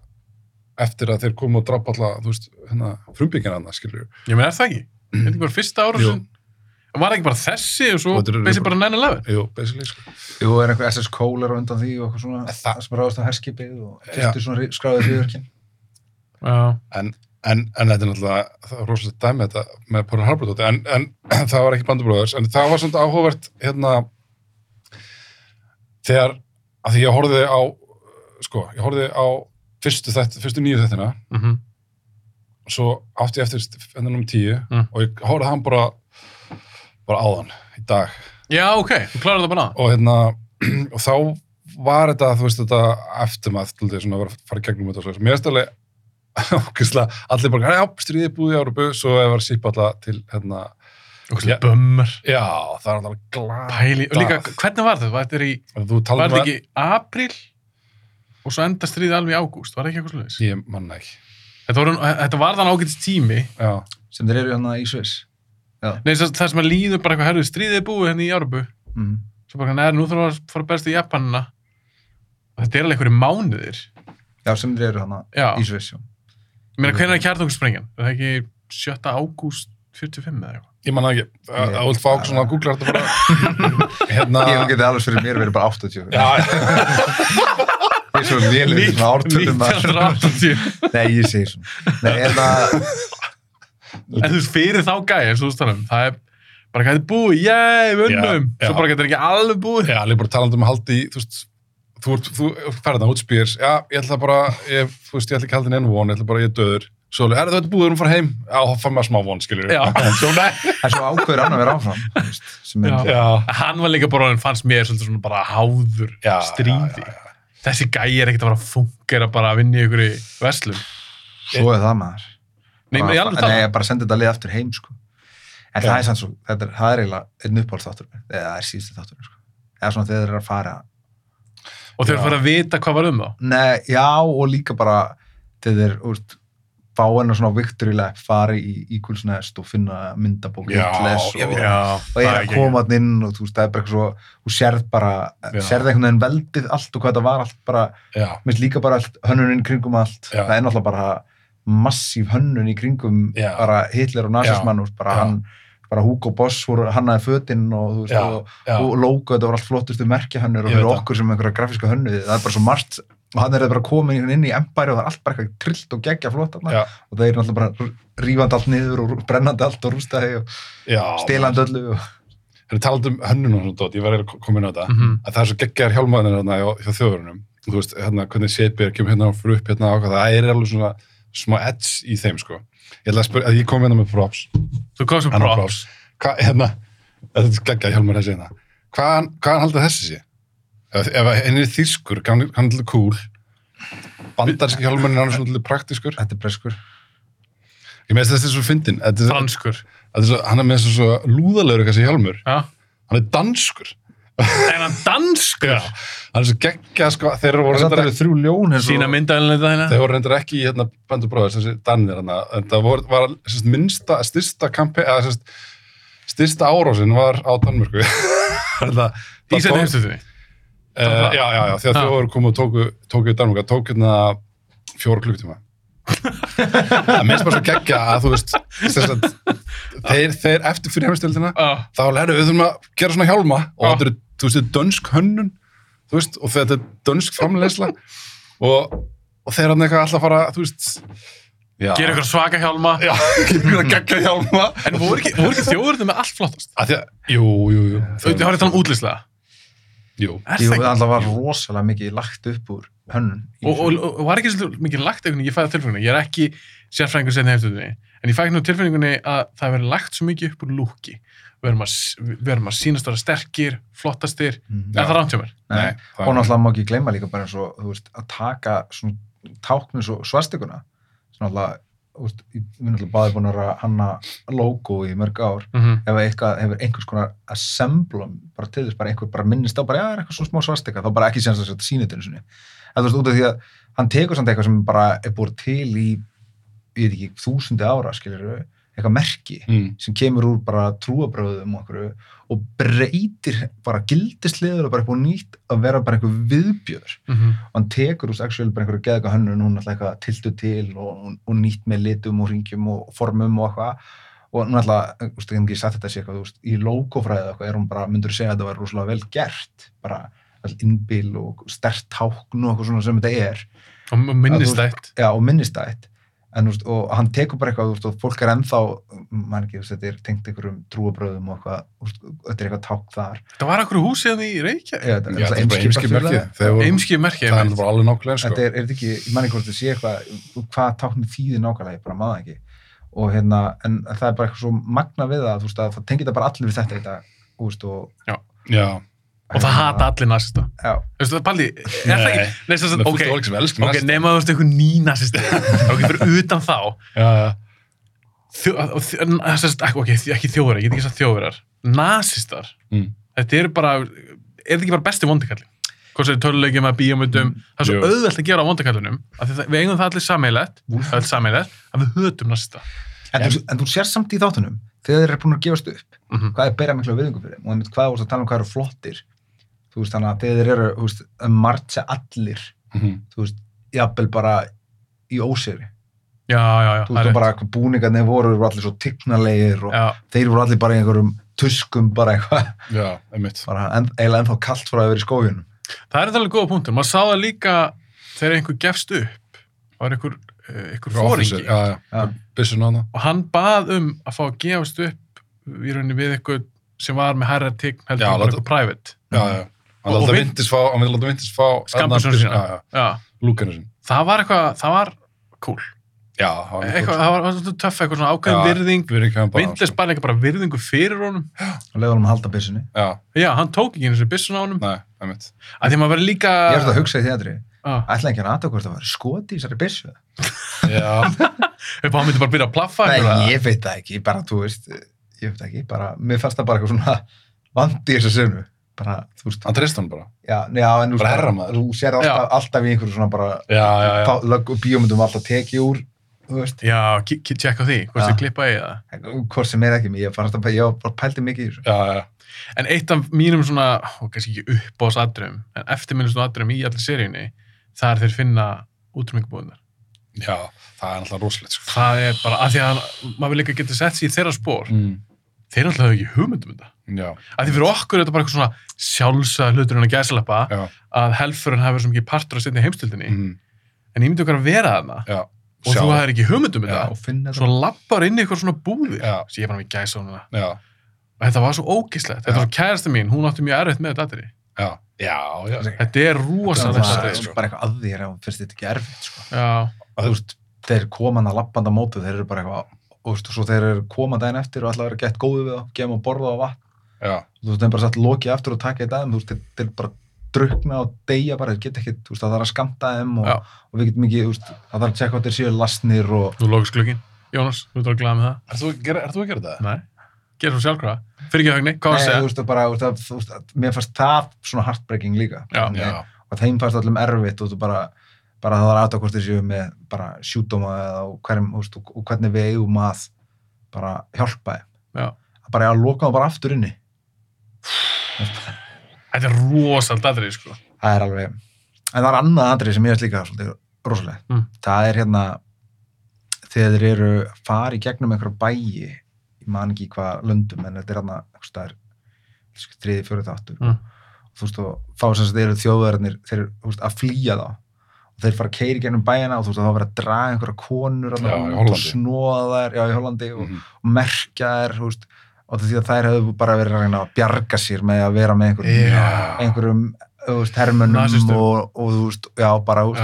eftir að þeir komu og drapa alla, þú veist, hérna frumbyggina hann, skilur, Ég meina, er það ekki? Þetta er bara fyrsta ára Jú. sem... Var ekki bara þessi og svo Og þetta eru- basic bara 9-11? jú, basically sko. Jú, er einhver SS Kohler á undan því og eitthvað svona, Það- það sem ráðast á herskipið og Já. fyrstu svona ri- skráðið hriðurkinn. Já. en, en þetta er náttúrulega það er rosalega dæmi þetta með Pearl Harbor tóti, en, en það var ekki bandabróðurs en það var svona áhugavert hérna þegar að því ég horfði á sko, ég horfði á fyrstu, þætt, fyrstu nýju þettina Mhm. og svo átti ég eftir endan um tíu Mm. og ég horfði á hann bara bara áðan í dag Já, ok. Þú klarar það bara að. og hérna og þá var þetta, þú veist, þetta eftirmað, til þess að vera að fara í gegnum þetta og svoleiðis. mér finnst alveg ókvæslega, allir bara, já, stríðið er búið í Európu svo hefur að sípa alla til, hérna Og Já. yeah. bömmar. já, það er alveg glad Pæli. Og líka, hvernig var þetta? Var þetta í... ef þú Var talar um þetta ekki apríl og svo enda stríðið alveg í ágúst? Var ekki eitthvað sluðis? ég manna ekki, Þetta, var- þetta var þann ágætis tími. já, sem þeir eru hérna í Sviss. Nei, það, það sem að líður bara eitthvað herrið stríðið er búið henni í Árubu. Mm. Svo bara, neður, nú þarf að fara best í Japanina. Og Þetta er alveg einhverju mánuðir. Já, sem þeir eru hérna Já. í Sviss, já. Ég meina, hvernig er kjartungssprengjan? Er það ekki 7. ágúst 45 eða eitthvað? ég manna ekki Nei. að Ulf Áksson að googla þetta bara hérna Ég geti alveg fyrir mér verið bara 80. já, Ég er svo lélið í svona um ártölu maður. 1980. Nei, ég segi svona. Nei, en það, En þú veist, fyrir þá gæja, eins og þú stannum, það er bara hvað þetta er búið, jæ, við unnum. Já, já. Svo bara getur ekki alveg búið. já, allir bara talandi um að halda í, þú veist þú, ert- þú ferðan útspýrs, já, ég ætla bara ég, þú veist, ég ætla ekki að halda inn von, ég ætla bara, ég er döður svo er þetta búið, erum að fara heim já, þá fann maður smá von, skilur Já, svo nei. en svo ákveður hann að vera áfram, þú veist, sem er Já. já. Hann var líka bara, hann fannst mér svolítið svona bara háður Já, stríði. já, Þessi gæja er ekkert að fara að fungera bara að vinna í ykkur í verslum. svo er það maður. Nei, bara, ég alveg nei, tala. ég bara sendi þetta lið aftur heim, sko. En Já. það er sann svo, þetta er, það er eiginlega einn uppáhaldsþáttur, minn, eða það er síðustu þáttur, minn, sko. Eða svona þegar þeir eru að fara, Og þau Já. fara að vita hvað var um þá. nei, já, og líka bara þegar þeir, úrst, fá hennar svona victory lap, fari í íkulsnest og finna myndabók Já, Hitlers ég og, veit og, og er það að ekki- koma hann inn og þú veist, það er bara eitthvað svo, þú sérð bara, Já. sérð einhvern veginn veldið allt og hvað þetta var allt bara, já, minnst líka bara allt, hönnuninn kringum allt Já. það er náttúrulega bara massíf hönnun í kringum Já. bara Hitler og nazismann og bara Já. hann bara Hugo Boss voru hannaði fötinn og, þú veist, Já. og, já, og logo þetta voru allt flottustu merkjahönnur og Ég veit fyrir það. okkur sem einhverja grafíska hönnuði það er bara svo margt og hann er bara komin einhvern inn í Empire og það er allt bara eitthvað trillt og geggja flott þarna. Já. og það er náttúrulega bara rífandi allt niður og rú- brennandi allt og rústaði og já stelandi öllu og... Það er talað um hönnun og svona dót, ég var eiginlega komin á þetta Mhm. að það er svo geggjar hjálmaðinir hérna hjá, hjá þjóðurinnum þú veist, hérna, hvernig setbyrg kemur hérna og fyrir upp hérna og ákvað, það er alveg svona smá edge í þeim, sko ég ætla að spyrja, að ég kom hérna með props Þú komst með annar props. props, hvað, hérna þetta er geggjar hjálmar þessi hérna hvaðan, hvaðan haldið þessi sé? ef, ef henni er þýskur, hann hann er til cool bandarski hjálmarinn hann er svona til praktiskur þetta er breskur ég meðist þessi er svo fyndin, þetta er- Franskur. þetta er svo- hann er með þessi svo lúðalegur þessi hjálmur, Já. hann er danskur En hann danskur. hann er svo geggja sko, þeir voru það reyndar, eru þrjú ljón eins og- Sína myndaðinleita hérna. þeir voru reyndar ekki í hérna Band of Brothers, þessi Danir hana en það voru, var sérst, minnsta, styrsta kampi, eða sérst, styrsta árásin var á Danmörku Hérna, það, Í tók- seinni heimstöðinni. Eh, já, já, já, Já. þegar þau voru komið og tóku, tóku í Danmörku, það tók hérna fjóra klukktíma það minnst bara svo geggja að þú veist sérst, þeir, þeir eftir fyrir heimstildina Já. þá lærðu við þurfum að gera svona hjálma og Já. þetta eru, þú veist, þetta er dönsk hönnun þú veist, og þetta er dönsk framleiðsla og, og þeir hann eitthvað alltaf að fara, þú veist já, Gera ykkur svaka hjálma. já, gera ykkur að gegga hjálma En voru ekki, voru ekki þjóðurinn með allt flottast? að því að, jú, jú, jú Þú þú horfði að tala um útlýslega. Jú. Er það Jú, það ekki? alltaf var rosalega mikið lagt upp úr hönnun. í Og, þessu. og, og var ekki svolítið mikið lagt einhvern veginn, ég fæði tilfinninguna, ég er ekki sérfræðingur setni heimstöðinni, en ég fæði nú tilfinningunni að það verið lagt svo mikið upp úr lúki. Við erum að, við erum að sýnast að vera sterkir, flottastir, Mhm. er það rámt hjá mér? Nei. það og er- náttúrulega má ekki gleyma líka bara eins og þú veist, að taka svona táknu svo svarstökuna sem náttúrulega þú veist, í- við erum náttúrulega báði búin að vera að hanna logo í mörg ár Mm -hmm. ef eitthvað hefur einhvers konar assemblum bara til þess bara einhver bara minnist á bara já, það er eitthvað svona smá svarstöka þá bara ekki séns að setja sínutinu sinni en þú veist út af því að hann tekur samt eitthvað sem bara er búið til í ég veit ekki, þúsundi ára skilur eitthvað merki Mm. sem kemur úr bara trúabröðum og okkur og breytir bara gildisliður og bara eitthvað nýtt að vera bara einhver viðbjör mhm. og hann tekur úr sexuál bara einhverju geðga hönnun hún alltaf eitthvað tiltu til og, og, og nýtt með litum og ringjum og formum og eitthvað og hún alltaf, þú veist, ég hef ekki sagt þetta sé eitthvað, þú veist, í logofræðið eitthvað er hún bara, myndur segja að þetta var rosalega vel gert bara all innbíl og stert tákn og eitthvað svona sem þetta er Og og minnistætt. já, og minnistætt en, úst, og hann tekur bara eitthvað úst, og fólk er ennþá, maður ekki, úst, þetta er tengt einhverjum trúabröðum og eitthvað úst, þetta er eitthvað tákn þar Þetta var akkur hús hérna í Reykjavík. Já, þetta er Já, það náttúrulega er bara Eimskipafélag. eimskip merkið. Þeir voru- Eimskið merkið. Það er náttúrulega bara alveg nákvæmlega eins, þetta sko. er, er þetta ekki, ég man ekki hvort þetta sé eitthvað hvað táknum þýðir nákvæmlega, ég bara maður það ekki og hérna, en það er bara eitthvað svo magna við það, þú veist, að það tengir þetta bara allir við þetta í dag, þú veist, og hérna, Já. Og það hata allir nasista. Já, Þú veist, Palli, er það ekki? Nei, sem sagt, Það er ok, fullt af fólk sem elskar ok, næst. nema þú veist einhver ný nasista. ok, fyrir utan þá, Já, já. þjó, og þjó, n- sem sagt, ok, þjó- ekki þjóðverðar, ég get ekki sagt þjóðverðar, nasistar, Mm. þetta eru bara, er þetta ekki bara besti vondikallin? Hvort sem er tölulegjum að bíómyndum, það er svo Mm, Jú. auðvelt að gera á vondikallinum, að það, við eigum það allir sameiglegt, öll sameiglegt, að við hötum nasista. en, þú, en þú sér samt í þáttunum, þegar þeir eru búin að gefast upp, Mhm. hvað er beira miklu viðingu fyrir þeim, og einmitt hvað þú veist að tala um hvað eru flottir, þú veist, þannig að þegar þeir eru, þú veist, að marcha allir Mhm. þú veist, jafnvel bara í óseri, Já, já, já, þú veist, og bara hvað búningarnir voru, voru allir svo tignarlegir og Já, þeir voru allir bara í einhverjum tuskum bara eitthvað, Já, einmitt. bara en, eiginlega ennþá kalt frá að vera í skóginum. það er alveg góða punktur, maður sá það líka þegar einhver gefst upp, var einhver, eh, einhver fóringi. Officer, Já, já. Já. Byssun á hana. og hann bað um að fá að gefast upp í rauninni við eitthvað sem var með herra tign heldur Já, já, bara láta- eitthvað private Já, já. Hann Og- og vil láta vin- Vintis fá- hann vil láta Vintis fá... Skammbyssuna sína. Já, já. já, Lúkanu sín. það var eitthvað, það var cool Já, það var eitthvað, það var svolítið töff eitthvað svona ákveðin Já, virðing Við erum ekki hann bara... Vindes bara eitthvað bara virðingu fyrir honum og leiði honum að halda byssunni. Já, já, hann tók ekki eins og byssun á honum nei, einmitt. að því að maður verið líka Ég er þetta að hugsa í þeatri, Ah, ætla ekki hann aðtöku hvort það var skoti í þessari byssu. Já, upp á hann myndi bara byrja að plaffa Nei, eitthvað. ég veit það ekki, bara, þú veist, ég veit það ekki, bara, mér fannst það bara eitthvað svona vandi í þessu senu. Bara, þú veist, hann treyst hann bara. já, já, en þú Bara herramaður. þú sér alltaf, alltaf í einhverju svona bara, Já, já, já. þá- lögg- bíómyndum alltaf tekið úr, þú veist, já, ki- ki- tjekka á því, hvort Já. þið klippa í það hvort sem er ekki mér, ég fannst að bara, ég bara pældi mikið í þessu. Já, já. En eitt af mínum svona, og kannski ekki upp á þessu aðdröfum, en eftirminnum svona aðdröfum í allir seríunni, það er þeir finna útrúmingabúðunar. Já, það er alltaf rosalegt, sko. Það er bara, af því að maður vil líka geta sett sér í þeirra spór. Mm. Þeir náttúrulega hafa ekki hugmyndum um þetta. Já, Af því fyrir okkur er þetta bara eitthvað svona sjálfsað hlutur en að gæsalappa, já. að helfurinn hafi verið svo mikið partur að setja heimstildinni, Mm. en ég myndi okkar að vera þarna Já. og þú hafðir ekki hugmyndum um Já. þetta. Og finna Svo lappar inn í eitthvað svona búðir. Já. Þessi, Ég var með gæsa honum það. Já, Og þetta var svo ógislegt. Þetta Já. var svo kærasta mín, hún átti mjög erfitt með þetta atriði. já. Já, já. Þetta er það rosalegt var atriði, sko. bara eitthvað að þér ef fyrst þetta ekki erfitt, sko. Já. þú veist, þeir komanda lappanda mótið, þeir eru bara eitthvað og, veist, og svo þeir eru komanda einn eftir og ætla að vera gett góðu við þá, gefa og borða á vatn Já, þú veist, þeim bara satt lokið aftur og taka þetta þú veist, þeir, þeir bara drukna og deyja bara, þeir geta ekki, þú veist, það þarf að skamta þeim Já. og, og við getum ekki, þú veist, það þarf að tjekka hvað þeir séu lasnir og Nú lókast glöggin. Jónas, þú ert að glæða með það? Er þú að gera, er þú að gera það? Nei. Gerðu svo sjálfkrafa. Fyrir ekki högni, hvað var að þú segja? veist, og bara, þú veist, að- þú veist, að- mér fannst það svona heartbreaking líka Já, Þannig Já, og þeim fannst allum erfitt og þú bara, bara það var aðtöð hvort þeir séu með bara sjúdóma eða og, hverjum, þú veist, og, og hvernig við eigum að bara hjálpa þeim Já. að bara já, loka það bara aftur inni Þetta er rosald aðrið, sko. það er alveg, en það er annað andri sem ég veist líka svolítið rosalegt Mm. það er hérna þegar þeir eru farið gegnum einhverja bæi ég man ekki í hvað löndum en þetta er hérna einhvers staðar, þriði, fjórið þáttur Mm. og þú veist og þá sem þess að þeir eru þjóðverðinir þeir eru þú veist, að flýja þá og þeir fara að keiri gegnum bæina og þú veist að þá vera að draga einhverja konur þarna Já, í út Hollandi. og snóða þær já í Hollandi og, Mhm. og merkja þær þú veist, og því að þær hefðu bara verið að reyna að bjarga sér með að vera með einhverjum, Já. einhverjum þú veist, hermönnum Nasistum. og, og þú veist, já, bara, þú veist,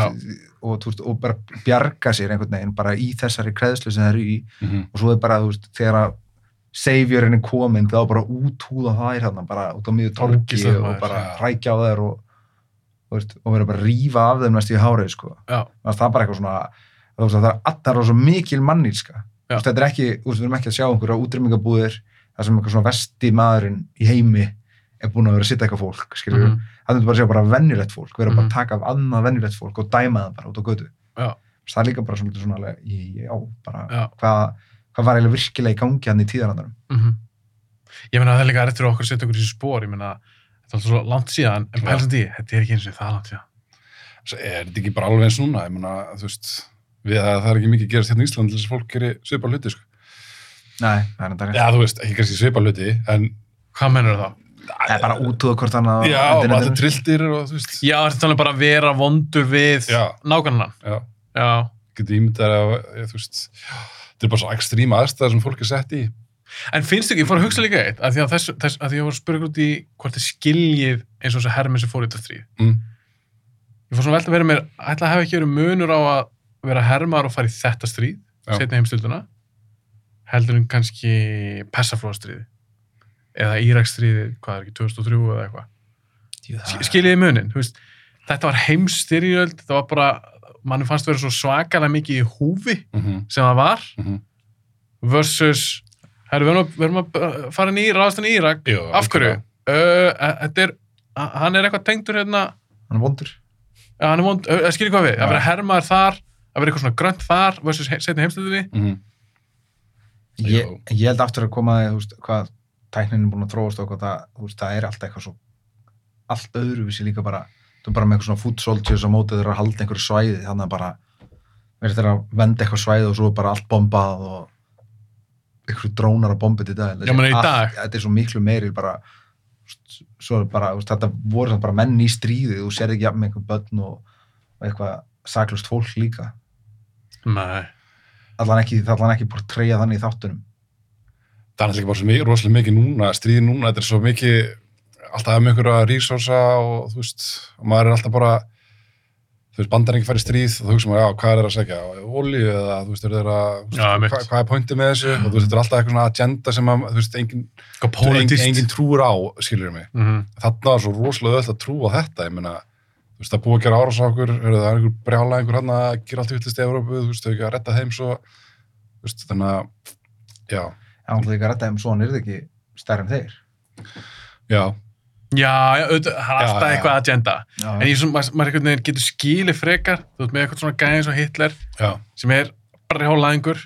og, þú veist, og bara bjarga sér einhvern veginn bara í þessari kreðslu sem það eru í Mhm. og svo er bara, þú veist, þegar að saviorinn er komin, þá bara úthúða þær hann, bara út á miður torki Ógeðslegt, og maður, bara já. rækja á þær og, þú veist, og vera bara að rífa af þeim næst í hárið, sko Já. Þannig að það er bara eitthvað svona þú veist, það er allar rosa mikil mannýrska Já. þetta er ekki, þú veist, við erum ekki að sjá einhverja útrýmingabúðir þar sem eitthvað svona vesti maðurinn í heimi er búin að vera að sitta eitthvað fólk skilur, mm Mhm. -hmm. það er bara að sjá bara venjulegt fólk við erum Mhm. bara að taka af annað venjulegt fólk og dæma það bara út á götu Já. Þess, það er líka bara svolítið svona alveg, já, bara Já. hvað hvað var eiginlega virkilega í gangi hann í tíðarandarum Mhm. Ég meina það er líka erfitt fyrir okkur að setja okkur í þessu spór, ég meina þetta er alltaf svo langt síðan, en Já. pælsandi, í, þetta er ekki eins og það langt síðan. Svo er þetta ekki bara alveg eins núna ég meina, þú veist, við að það er ekki mikið að gerast hérna í Íslandi til þess að fólk gerir svipa hluti sko. nei, það er enda rétt já, þú veist, ekki kannski svipa hluti en Hvað mennur það? það er bara útúða hvort hann að já, og allir trilltir og þú veist Já, þetta er bara að vera vondur við Já. nágrannan. já, Já. getur ímyndar að ég, þú veist, þetta er bara svo ekstríma aðstæðar sem fólk er sett í En finnst ekki, ég fór að hugsa líka eitt, að því að, þess, þess, að því að ég var að spyrja ykkur út í hvort þið skiljið eins og þessi hermið sem fór í þetta stríð. mm. Ég fór svona velta að vera mér, ætla að hafa ekki verið munur á að vera hermaður og fara í þetta stríð, Já. setna heimstölduna, heldur en kannski persaflóðastríði eða Íraksstríði, hvað er ekki, 2003 eða eitthvað. Sk- skiljiði munin, þú veist, þetta var heimstyrjöld, það var bara, mann fannst vera svo svakalega mikið í húfi Mm -hmm. sem það var Mm versus, herru, við erum að, við erum að uh, fara inn í, ráðast inn í Írak, Jú, af hverju? algjörlega. Uh, þetta er, a- hann er eitthvað tengdur hérna, hann er vondur ja, hann er vond, uh, skiljiði hvað við, Já. að vera hermaður þar, að vera eitthvað svona grönt þar versus he setna heimstöldinni, Mhm. ég, Jú. ég held aftur að koma að því, þú veist, hvað tæknin er búin að þróast og hvað það, þú veist, það er allt eitthvað svo allt öðruvísi líka bara þú er bara með eitthvað svona food soldiers á móti þeirra að halda einhverju svæði þannig að bara verður þeirra að venda eitthvað svæði og svo er bara allt bombað og einhverju drónar að bomba þetta í dag Þetta Já, meina í er dag. allt- þetta er svo miklu meiri bara þú veist, svo er bara, þú veist, þetta voru samt bara menn í stríði þú sér ekki jafn með einhver börn og, og eitthvað saklust fólk líka nei, allan ekki, allan ekki portreyja þannig í þáttunum það er náttúrulega bara svo mikið, rosalega mikið núna stríði núna, þetta er svo mikið alltaf með einhverja resursa og þú veist, og maður er alltaf bara þú veist, bandar ekki farið stríð og þú hugsa maður, já, hvað er það að segja, olíu eða þú veist, er það að, þú veist, Já, mitt. hvað, hvað er pointið með þessu og þú veist, þetta er alltaf eitthvað svona agenda sem að, þú veist, engin, eitthvað engin, politist. engin trúur á, skilur mig Mhm. þarna var svo rosalega öll að trúa þetta ég meina, þú veist, það er búið að gera árás á okkur heyrðu, það er einhver brjála einhver hann að gera allt vittlist í Evrópu, þú veist, þau ekki að retta þeim svo þú veist, þannig að já, Það var alltaf ekki að redda þeim svo hann er ekki stærri en þeir. já, Já, já, auðvitað, það er Já, alltaf já. eitthvað agenda. Já, En ég er svona, maður- maður einhvern veginn getur skilið frekar, þú veist, með eitthvað svona gæði eins og Hitler, já sem er bara hjólaðingur,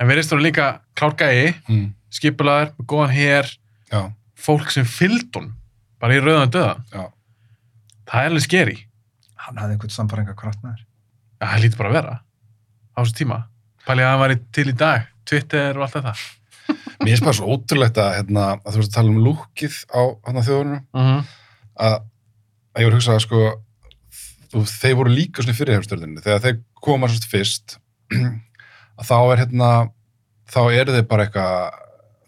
en verðist þú líka klár gæði, mm, skipulaður, með góðan hér, já, fólk sem fylgd hún, bara í rauðan döðan. já, Það er alveg skeri. hann hafði einhvern samfæringa kvartnaður. Já, það lítur bara að vera á þessu tíma. Pælið að hann væri til í dag, Twitter og allt þetta. mér finnst bara svo ótrúlegt að, hérna, að þú veist að tala um lúkið á hann að þjóðunum Mm -hmm. að, að ég voru að hugsa að sko þú, þeir voru líka svona fyrir heimstöldinni þegar þeir koma svona fyrst að þá er hérna þá eru þeir bara eitthvað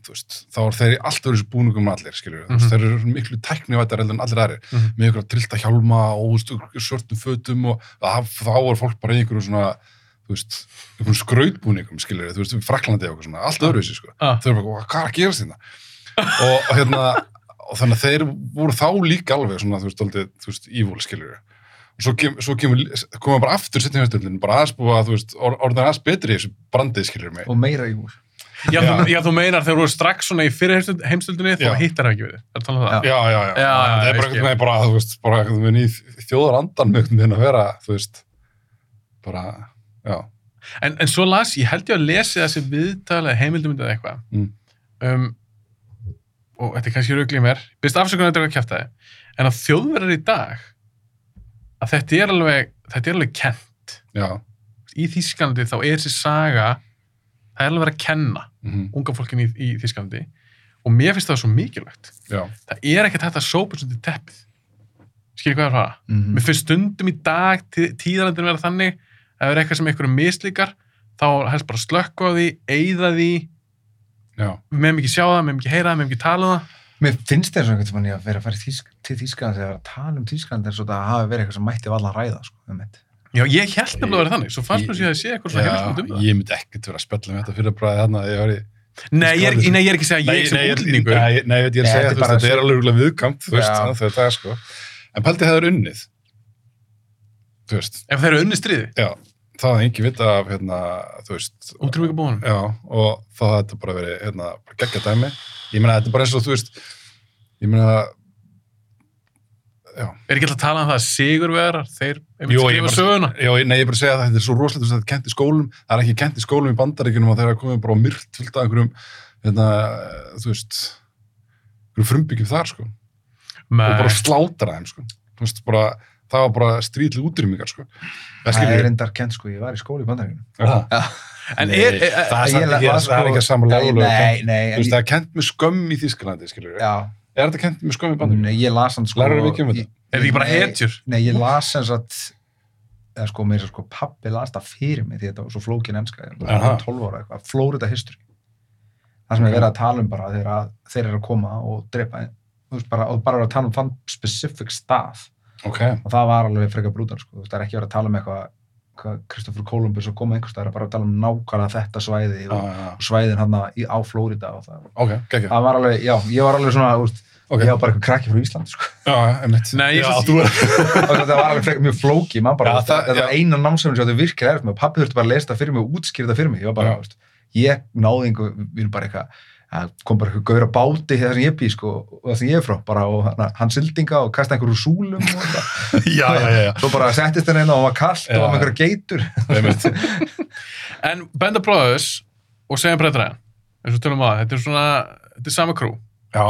þú veist, þá eru þeir í alltaf þessu búningum en allir, skilur, mm Mhm. þeir eru svona miklu tæknivættar heldur en allir aðrir, Mhm. með ykkur að trillta hjálma og þú veist, ykkur svörtum fötum og það, þá er fólk bara í einhverjum svona þú veist, einhverjum skrautbúningum skilur, þú veist, við Fraklandi og eitthvað svona allt öðruvísi, sko ah, þau eru bara, hvað er að gerast hérna og, og hérna og þannig að þeir voru þá líka alveg svona, þú veist, aldrei, þú veist, evil skilur og svo, kem, svo kemur, koma bara aftur setjum hérstundin, bara aðeins búið að, þú veist, or, orðin aðeins betri í þessu brandið skilur mig Og meira í hús. já, þú, já, þú meinar þegar þú eru strax svona í fyrir heimstöld- heimstöldinni, þá Já. hittar það ekki verið. Það er að tala um það. Já. já, já, já, Já, já, það ég er skil. bara einhvern veginn bara, þú veist, bara einhvern veginn í þjóðarandan með einhvern veginn að vera, þú veist bara, já En, en svo las, ég held ég að lesi þessi viðtal eða heimildumyndið eða eitthvað. Mm. Um, og þetta er kannski rauglið mér. Byrst afsökunar þetta er að kjæfta þið. En að þjóðverðar í dag, að þetta er alveg, þetta er alveg kent. já, Í Þísklandi þá er þessi saga, það er alveg verið að kenna mm unga fólkin í, í Þísklandi. Og mér finnst það svo mikilvægt. já, Það er ekkert hægt að sópa þessu til teppið. Skilji hvað ég er að fara? Mhm. Mm Mér finnst stundum í dag tí- tíðarandin vera þannig að ef er eitthvað sem einhverjum mislíkar þá helst bara slökka á því, eyða því já, við meðum ekki sjá það, við meðum ekki heyra það, við meðum ekki tala um það Mér finnst þér svona einhvern tímann ég að vera að fara í Þýsk, til Þýskaland eða að tala um Þýskaland eins og það hafi verið eitthvað sem mætti valla að ræða, sko, um eitt. Já, ég held nefnilega að vera þannig, svo fannst mér Ég- síðan að sé eitthvað svona heimsmynd um já það. ég myndi ekkert vera að spjalla með þetta fyrir bræði þarna þegar ég var í Nei, ég er, ekki- nei, ég er ekki að segja Nei, ég sem nei, útlendingu. Nei, nei, ég veit, ég er Nei, að þetta er segja, þú veist, bara þetta er svo- alveg örugglega viðkvæmt, þú Já. veist, þannig að þetta er sko. En pældi hefur unnið, þú veist, Ef þeir eru unni stríði, já, það hafði engi vita af, hérna, þú veist, útrúmika búinum. já, og þá hafði þetta bara verið, hérna, bara geggja dæmi. Ég meina, þetta er bara eins og, þú veist, ég meina, Er ekki alltaf að tala um það að sigurvegarar, þeir einmitt Jú, ég skrifa bara- söguna. já, nei, ég er bara að segja að þetta er svo rosalega, þú veist, þetta er kent í skólum, það er ekki kent í skólum í bandaríkjunum og þegar það komið bara á myrt fullt af einhverjum, hérna, þú veist, einhverjum frumbyggjum þar, sko. og bara Nei, slátra þeim sko. Þú veist, bara, það var bara stríðli útrýmingar sko. það Það skilur er ég reyndar kent, sko, ég var í skóli í bandaríkjunum. það en Nei, er, er, er, það Ég er samt la- ekki- var það er sko- ekki að samla Nei, lögulega nei, nei, Þú en veist, ég, það er kent með skömm í Þísklandi skilur við, já, er þetta kent með skömm í bandum? nei, ég las hann, sko. Lærir við ekki í- um þetta? er ekki bara Nei, hetjur? Nei, ég las hans að, eða sko, mér sko, pappi las það fyrir mig því þetta var svo flókin enska, ég Aha. var 12 ára eitthvað, Florida history. Það sem er verið að tala um bara þegar að- þeir eru að koma og drepa, þú veist, bara, og bara verið að tala um þann specific stað. ok, og það var alveg frekar brútal sko. Þú veist, það er ekki verið að tala um eitthvað hvað Kristoffer Kolumbus og koma einhvers það er bara að tala um nákvæmlega þetta svæði Já, og, já, já. og svæðin hann á Flórida og það. ok, geggja það var alveg, já, ég var alveg svona úst, ok, ég já, var bara eitthvað krakki frá Íslandi sko. einmitt Nei, ég já, svo- þú er og það var alveg frekar mjög flóki man bara, Já, já, það- það, þetta var já. eina námsefni sem þetta virkilega erfitt með og pappi þurfti bara að lesa það fyrir mig og útskýra það fyrir mig ég var bara, Já. úst, ég náði einhver, við erum bara eitthvað það kom bara eitthvað gaur á báti þegar sem ég bý sko, og það sem ég er frá, bara, og hann, hann sildinga og kasta einhverju súlum og það já, já, já, já, svo bara settist hann inn og hann var kallt Já. og hann var einhverja geitur einmitt En Band of Brothers og Sejan Bretræðan, eins og tölum á það, þetta er svona, þetta er sama krú. já,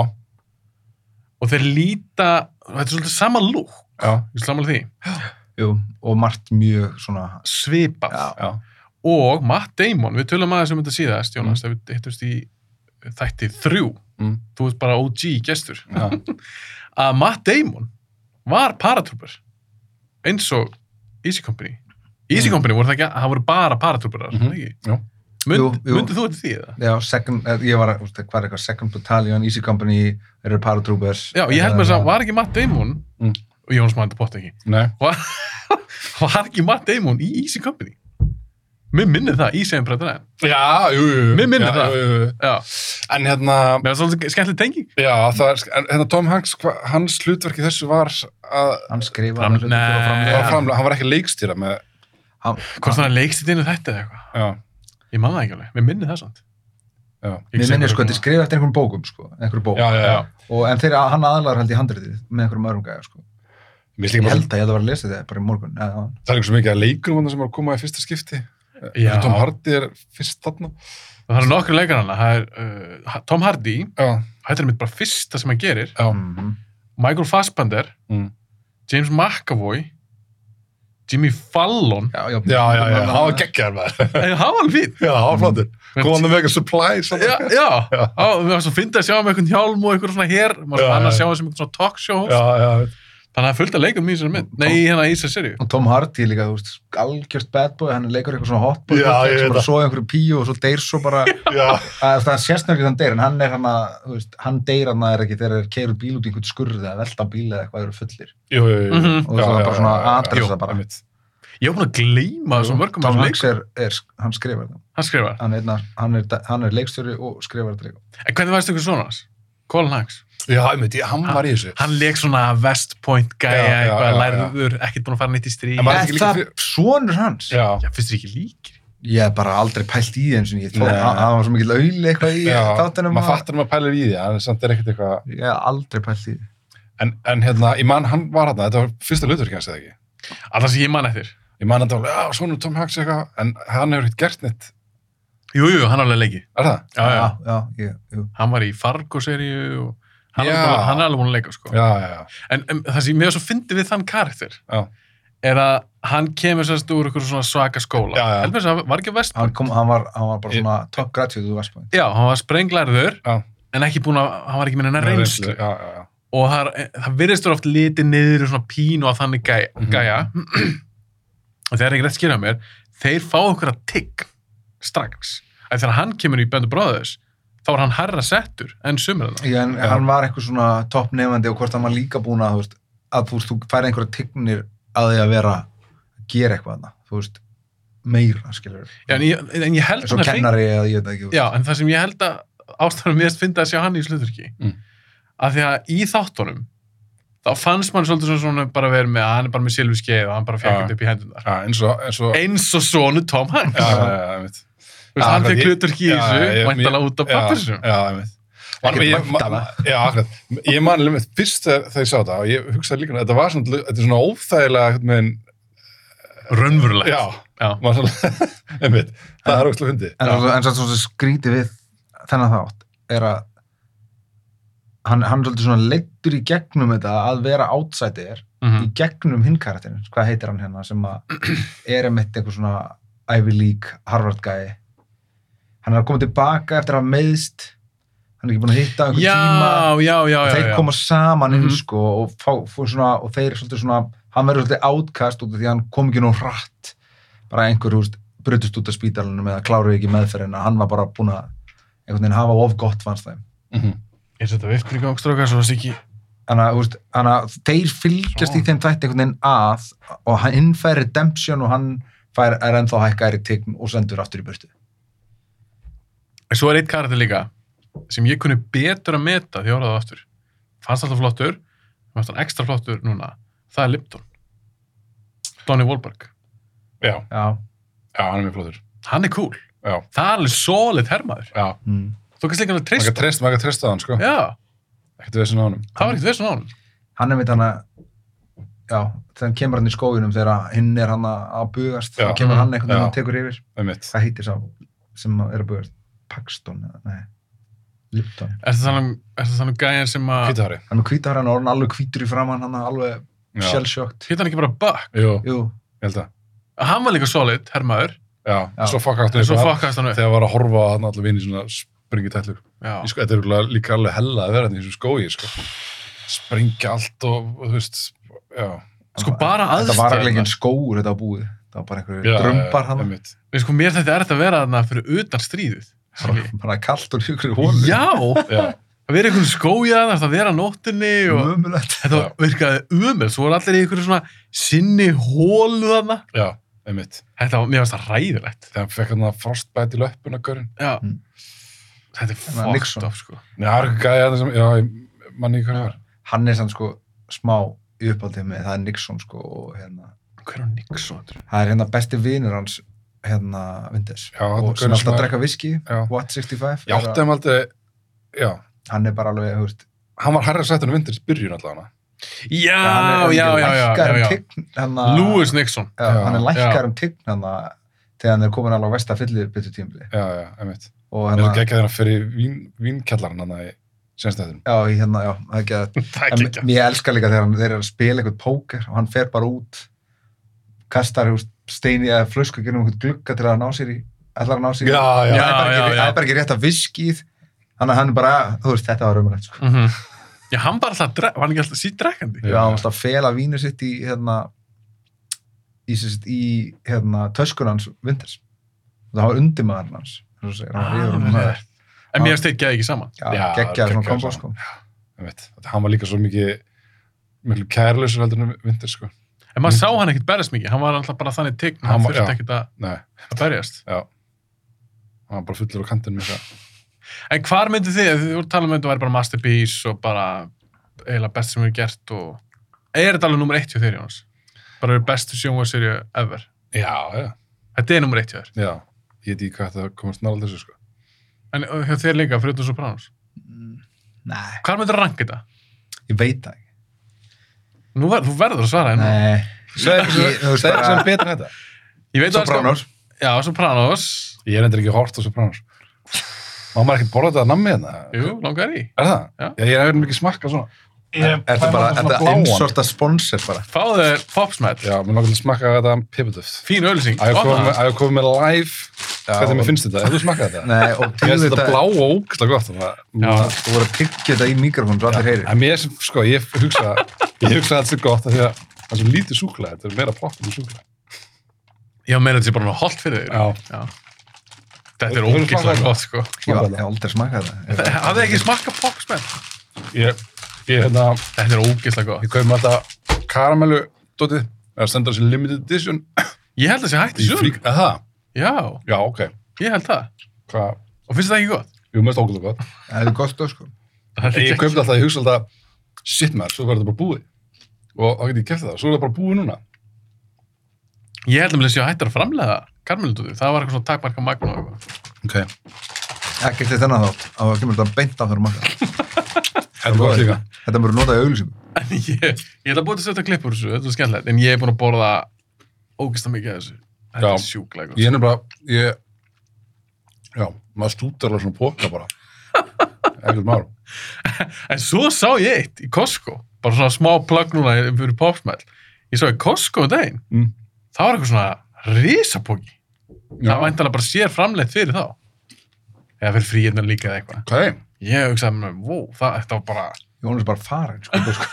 Og þeir líta, þetta er svolítið sama lúk, já, ég slamal því, Jú, og margt mjög svona svipað. Já. já, Og Matt Damon, við tölum aðeins um þetta síðast, Jónas, þegar við hittumst í þætti þrjú, Mm. þú ert bara OG gestur, já. að Matt Damon var paratrooper eins og Easy Company. Í Easy Mm. Company voru það ekki, það voru bara paratrooperar, mm Mhm. ekki? Jú. Mund, Jú, jú. Mundið þú þetta því eða? já, second, eh, ég var, úst, hvað er eitthvað, second battalion, easy company þeir eru paratroopers Hérna, Já, ég held með þess að var ekki Matt Damon, Eh, Mm. og Jónas maður þetta bótt ekki, nei, var ekki Matt Damon í Easy Company? Mér minnir það í sem prætræðan. já, jú, jú, jú Mér minnir Já, það. jú, jú, jú. Já, en hérna, mér var svolítið skemmtileg tenging. já, það er en hérna Tom Hanks, hva, hans hlutverki þessu var að hann skrifa Fram- Nei. var Já. framlega, hann var ekki að leikstýra með, Hvort þannig að leikst þetta inn í þetta eða eitthvað? já, Ég man það ekki alveg, mér minnir það samt. já Ég Mér sé minnir bara sko, þetta er svona- skrifað eftir einhverjum bókum, sko, einhverjum bók. já, já, já. Og, en þeir, hann aðlar held í handritið með einhverjum öðrum gæja, sko. Mér finnst Ég líka bara, held að ég held að vera að lesa þetta bara í morgun. Eða, það er líka svo mikið að leikur um sem er að koma í fyrsta skipti. Já, Tom Hardy er fyrst þarna. það eru nokkru leikar hana. Það er uh, Tom Hardy, Já, þetta er mitt bara fyrsta sem hann gerir. já, mm -hmm. Michael Fassbender, mm. James McAvoy, Jimmy Fallon. já, já, já, já, já, það var geggjaðar maður. Það var alveg fín. Já, það var flottur. Góðan með eitthvað supply, svona. Já, já. já. Mér var svo fyndið að sjá um einhvern hjálm og einhvern svona hér. Maður Já, fann að já. sjá hann sem einhvern svona talkshow. já, já. Þannig að það er fullt að leikum í þessari mynd. Nei, í hérna í þessari serju. Og Tom Hardy líka, þú veist, algjört bad boy, hann leikur eitthvað svona hot boy, Já, hot boy ég sem veit bara það. svo einhverju píu og svo deyr svo bara já. að það sést nefnilega hann deyr en hann er hann að, þú veist, hann deyr hann að er ekki þegar þeir keiru bíl út í einhvern skurð eða velta bíl eða eitthvað eru fullir Jú, jú, jú. Mhm. og það var bara svona aðdressa bara einmitt. Ég var búin að gleyma þessum mörgum Tom þessum Hanks leikum. er, er, hann skrifar það Hann skrifar. hann er, einna, hann er, hann er leikstjóri og skrifar það líka En hvernig varst ykkur svona hans? Colin Hanks. Já, einmitt, ég, hann var í þessu. Hann leik svona West Point Já, gæja, já, eitthvað já, já. lærður, ekkert búin að fara neitt í stríð. En var- Já, það ekki Er líka það fyrir- svonur hans? Já, finnst þér ekki líkir? Ég hef bara aldrei pælt í þeim sem ég þó, Nei. hann hann var svo mikill auðli eitthvað í já. þáttunum Maður að- fattar um að pæla í því, en samt er ekkert eitthvað. Ég hef aldrei pælt í því En, en hérna, ég man, hann var hérna, þetta var fyrsta hlutverk hans, eða ekki? Alltaf sem ég man eftir. Ég man þetta alveg, já, svona Tom Hanks eitthvað, en hann hefur ekkert gert neitt. Jú, jú, hann alveg leiki. Er það? Já, já. já, ég, jú. Hann var í Fargo-seríu og hann, Já. er alveg- hann er alveg búin að leika, sko. Já, já, já. En, en það sem mér var svo fyndið við þann karakter Já. er að hann kemur sérst úr ykkur svona svaka skóla. Já, já. Heldur mér að hann var ekki á West Hann, Point. kom, hann, var, hann var bara Ég- svona top graduate úr Vestbæn Já, hann var sprenglærður, Já. en ekki búin að, hann var ekki minna reynslu. Já, já, já. og það, er- það virðist vera oft litið niður í svona pínu að þannig gæ, Mhm. gæja og þegar ekki rétt skilja mér þeir fá okkur að tigg strax að þegar hann kemur í Böndu Brothers þá var hann herra settur en sumir þetta. Já, en Já. hann var eitthvað svona toppnefandi og hvort hann var líka búin að, þú veist, að þú, veist, þú færi einhverja tignir að því að vera að gera eitthvað þarna, þú veist, meira, skilur. Já, en, ég, en ég held Svo hann að fengi, kennari eða ég veit ekki. þú veist. já, en það sem ég held að ástæðanum miðast fyndi að sjá hann í sluturki, Mm. að því að í þáttunum, þá fannst mann svolítið svona, svona bara verið með að hann er bara með silfiskeið og hann bara Já. fekk þetta upp í hendunar. Já, eins og, eins og, Eins og sonu Tom Hanks. já, já, já, ég veit. Þú veist, Já, hann akkurat, fekk ég- hluturki í já, þessu, ég- væntalega út af Já, pappinsum. já, ég veit. Man, Ekkert ég, ma, væntanlega. já, akkurat. Ég man alveg fyrst þegar þegar ég sá þetta og ég hugsaði líka, um þetta var svona, þetta er svona óþægilega, einhvern veginn, Rönnvurlegt. já, Já. maður svona, einmitt, það er ógstlega fyndið. En, en satt svona skríti við þennan þátt er að hann, hann er svolítið svona leittur í gegnum þetta að vera átsætir Mhm. í gegnum hinn karakterinn, hvað heitir hann hérna sem að er emitt einhver svona Ivy League Harvard gæi hann er að koma tilbaka eftir að hafa meiðst hann er ekki búin að hitta einhvern tíma Já, já, já, já, þeir já. koma saman inn Mhm. sko og, fá, fá svona, og þeir svolítið svona hann verður svolítið átkast út af því að hann kom ekki nú hratt bara einhver húst brutust út af spítalunum eða kláruði ekki meðferðina hann var bara búin að einhvern veginn hafa of gott fannst þeim Er þetta viftur í gangstrókar svo það sé ekki? þannig að, þú veist, þannig að þeir fylgjast í Svo. þeim þætti einhvern veginn að og hann inn fær redemption og hann fær, er ennþá hækkaðir í tign og sendur aftur í burtu En Svo er eitt karakter líka sem ég kunni betur að meta því að orða það aftur. Fannst alltaf flottur, fannst hann ekstra flottur núna. Það er Lipton. Donnie Wahlberg. Já, já, já, hann er mjög flottur. Hann er cool. Já, Það er alveg solid hermaður. já, mm. Þú kannst líka alveg maður treyst. kan treysta, maður kan treysta á hann, sko, Já, ekkert við þessum á honum. það var ekkert vissum á hann. hann er mitt hann að já, þegar hann kemur hann í skóginum þegar hinn er hann að að bugast Já. þá kemur Mhm. hann einhvern Já. veginn og tekur yfir Einmitt. hvað heitir sá sem er að bugast Paxton eða, nei, Lipton Er það þannig um gæjan sem að... Hvítahári. hann er hvítar hann orðin alveg hvítur í framann hann er alveg Já. sjálfsjókt Hitt hann ekki bara Buck? Jú, jú, ég held að. Hann var líka solid hermaður, Já, Já. svo fuck en aftur svo fuckast hann upp. þegar var að horfa að hann allir vinni svona springi tætlu. Já. Sko, þetta er örugglega líka alveg hella að vera þetta í þessum skói, sko. Springi allt og, þú veist, já. Sko bara þetta var alveg aðstæðan. enginn skóur þetta á búið það var bara einhverju já drömbar já, hann einmitt. Sko mér þetta er þetta að vera þarna fyrir utan stríðið. bara, bara kallt og ykkur hólu Já, Mm. Já, að vera í einhvern skójaðan, það að vera á nóttinni og umulegt þetta virkaði umel, svo voru allir í einhverju svona sinni hólu þarna. já, einmitt. Þetta var, mér finnst það ræðilegt. Þegar hann fekk hann að frostbæti í löppuna, görinn. Já. Mm. Þetta er Þannig að Nixon. fucked up, sko. Já, það er eitthvað gæði að þessum, já, ég manni ekki hvað það var. hann er sann sko smá í uppáldið með það er Nixon sko og hérna Hver var Nixon? þetta? það er hérna besti vinur hans hérna Vindes Já, og sem er alltaf að drekka viski Já. Watt 65 Ég átti þeim aldrei, já, hann er bara alveg, þú veist hann var herra sættunum vindur í byrjun alltaf hana. Já, hann er- já, já, já, já, lækkar um já. tign hann Lewis Nixon. já, hann er Já, já. lækkar um tign hann þegar hann er komin alveg á vest að fyllir betur tímli Já, já, einmitt. og hérna- Mér er svo hann geggjað þegar hann fyrir vín, vínkjallarinn hann í senstættunum. já, í hérna, já, það er ekki að Það er en ekki mér elskar líka þegar hann, þeir eru að spila eitthvað póker og hann fer bara út kastar þú veist, steini eða flösku gerum einhvern glugga til að ná sér í ætlar að ná sér í Já, það já, er bara já, ekki- já. það er bara ekki rétt að viskið þannig að hann er bara, þú veist, þetta var umrætt sko. Mhm. Já, hann bara alltaf, dre- var hann ekki alltaf síðdrekkandi? Já. já, hann var alltaf að fela vínu sitt í hérna í, sem sagt, í hérna, töskun hans vinters það var undirmaður hans eins og segir, Ah, hann var yfir um maður Ah, En mér finnst þeir gæði ekki saman. já, Já, geggjaður svona geggjaður kombo saman. sko. einmitt. Þetta, hann var líka svo mikið, miklu kærleysur heldur en vindur, sko. En maður sá hann ekkert berjast mikið, hann var alltaf bara þannig tign, Hann hann var- þurfti já. ekkert að Nei, að berjast. hann var bara fullur á kantinn með það. En hvar myndu þið, þið voru að tala um að þetta væri bara masterpiece og bara eiginlega best sem við erum gert og er þetta alveg nummer eitt hjá þér Jónas? Bara eru bestu sjónvarserju ever. Já, já. Þetta er nummer eitt hjá þér. Já, ég veit ekki hvað það komast nála þessu, sko. En uh, hjá þér líka, fyrir utan Sopranos. Mm, nei, Hvar myndu að ranka þetta? ég veit það ekki Nú ver, þú verður að svara hérna. nei, Segðu Ég- ég- þú veist segðu bara- sem betur en þetta. Ég veit að það Sopranos er skam- Já, Sopranos. Ég er endur ekki hort á Sopranos. Má maður ekkert borða þetta að nammi hérna? Jú, langar í. Er það? Já. ég er einhvern mikið smakka svona. Er það bara, er það einsorta sponsor bara? Fáðu þér popsmell. Já, mér langar til að smakka þetta pipitöft. Fín ölsing. Að ég komi með- að ég komi með live, Já, hvernig og- mér finnst þetta, hefur þú smakkað þetta? Nei, og Mér til finnst þetta, þetta blá og ógæslega gott. þannig að- Já. þú voru að piggja þetta í mikrofónum svo allir heyri. En mér sem, sko, ég hugsa, ég hugsa að þetta er gott af því að það er svo lítið súkulega, þetta er meira popp en súkulega. Já, meira þetta sé bara holdt fyrir þér. Já. Já. Þetta er Hefurðu ógeðslega smakkað gott, sko. Ég Smakkaðu hef aldrei smakað þetta. Það hafði ekki smakka popsmenn. Ég, ég, hérna, Þetta er ógeðslega gott. ég kaupum alltaf karamellu, dótið, eða stendur þessi limited edition. Ég held að það sé hægt í Í sölu. frík, eða það? Já, Já, ok. ég held það. Hvað, Og finnst það ekki gott? jú, mest ógæðlega gott. Það er gott og sko. Það er Ég ekki kaupti alltaf, ég hugsa alltaf, shit maður, svo verður þetta bara búið. Og þá get ég kæft það, svo er það bara búið núna. Ég held að það sé hægt að framlega karmelutúður. Það var eitthvað svona takmarka magna og eitthvað. Ok. Ekki til þennan þátt, þá kemur þetta beint af þeirra makka. Þetta er gott líka. Þetta mörgur notað í auglýsum. En ég, ég ætla að búið til að setja klippur þessu, þetta er skemmtilegt. En ég er búin að borða ógeðslega mikið af þessu. Þetta Já. er sjúklega Ég gott. er nefnilega, ég, já, maður stútar alveg svona póka bara. Ekkert mál. En svo sá ég eitt í Costco, bara svona smá plugg núna fyrir popsmell. Ég sá í Costco um daginn, Mm. það var eitthvað svona risapóki. Já, Það væntanlega bara sér framleitt fyrir þá. Eða fyrir fríirnar líka eða eitthvað. ok. Ég hugsaði með mér, wow, það, þetta var bara... Jónas er bara farin, sko. bara, sko.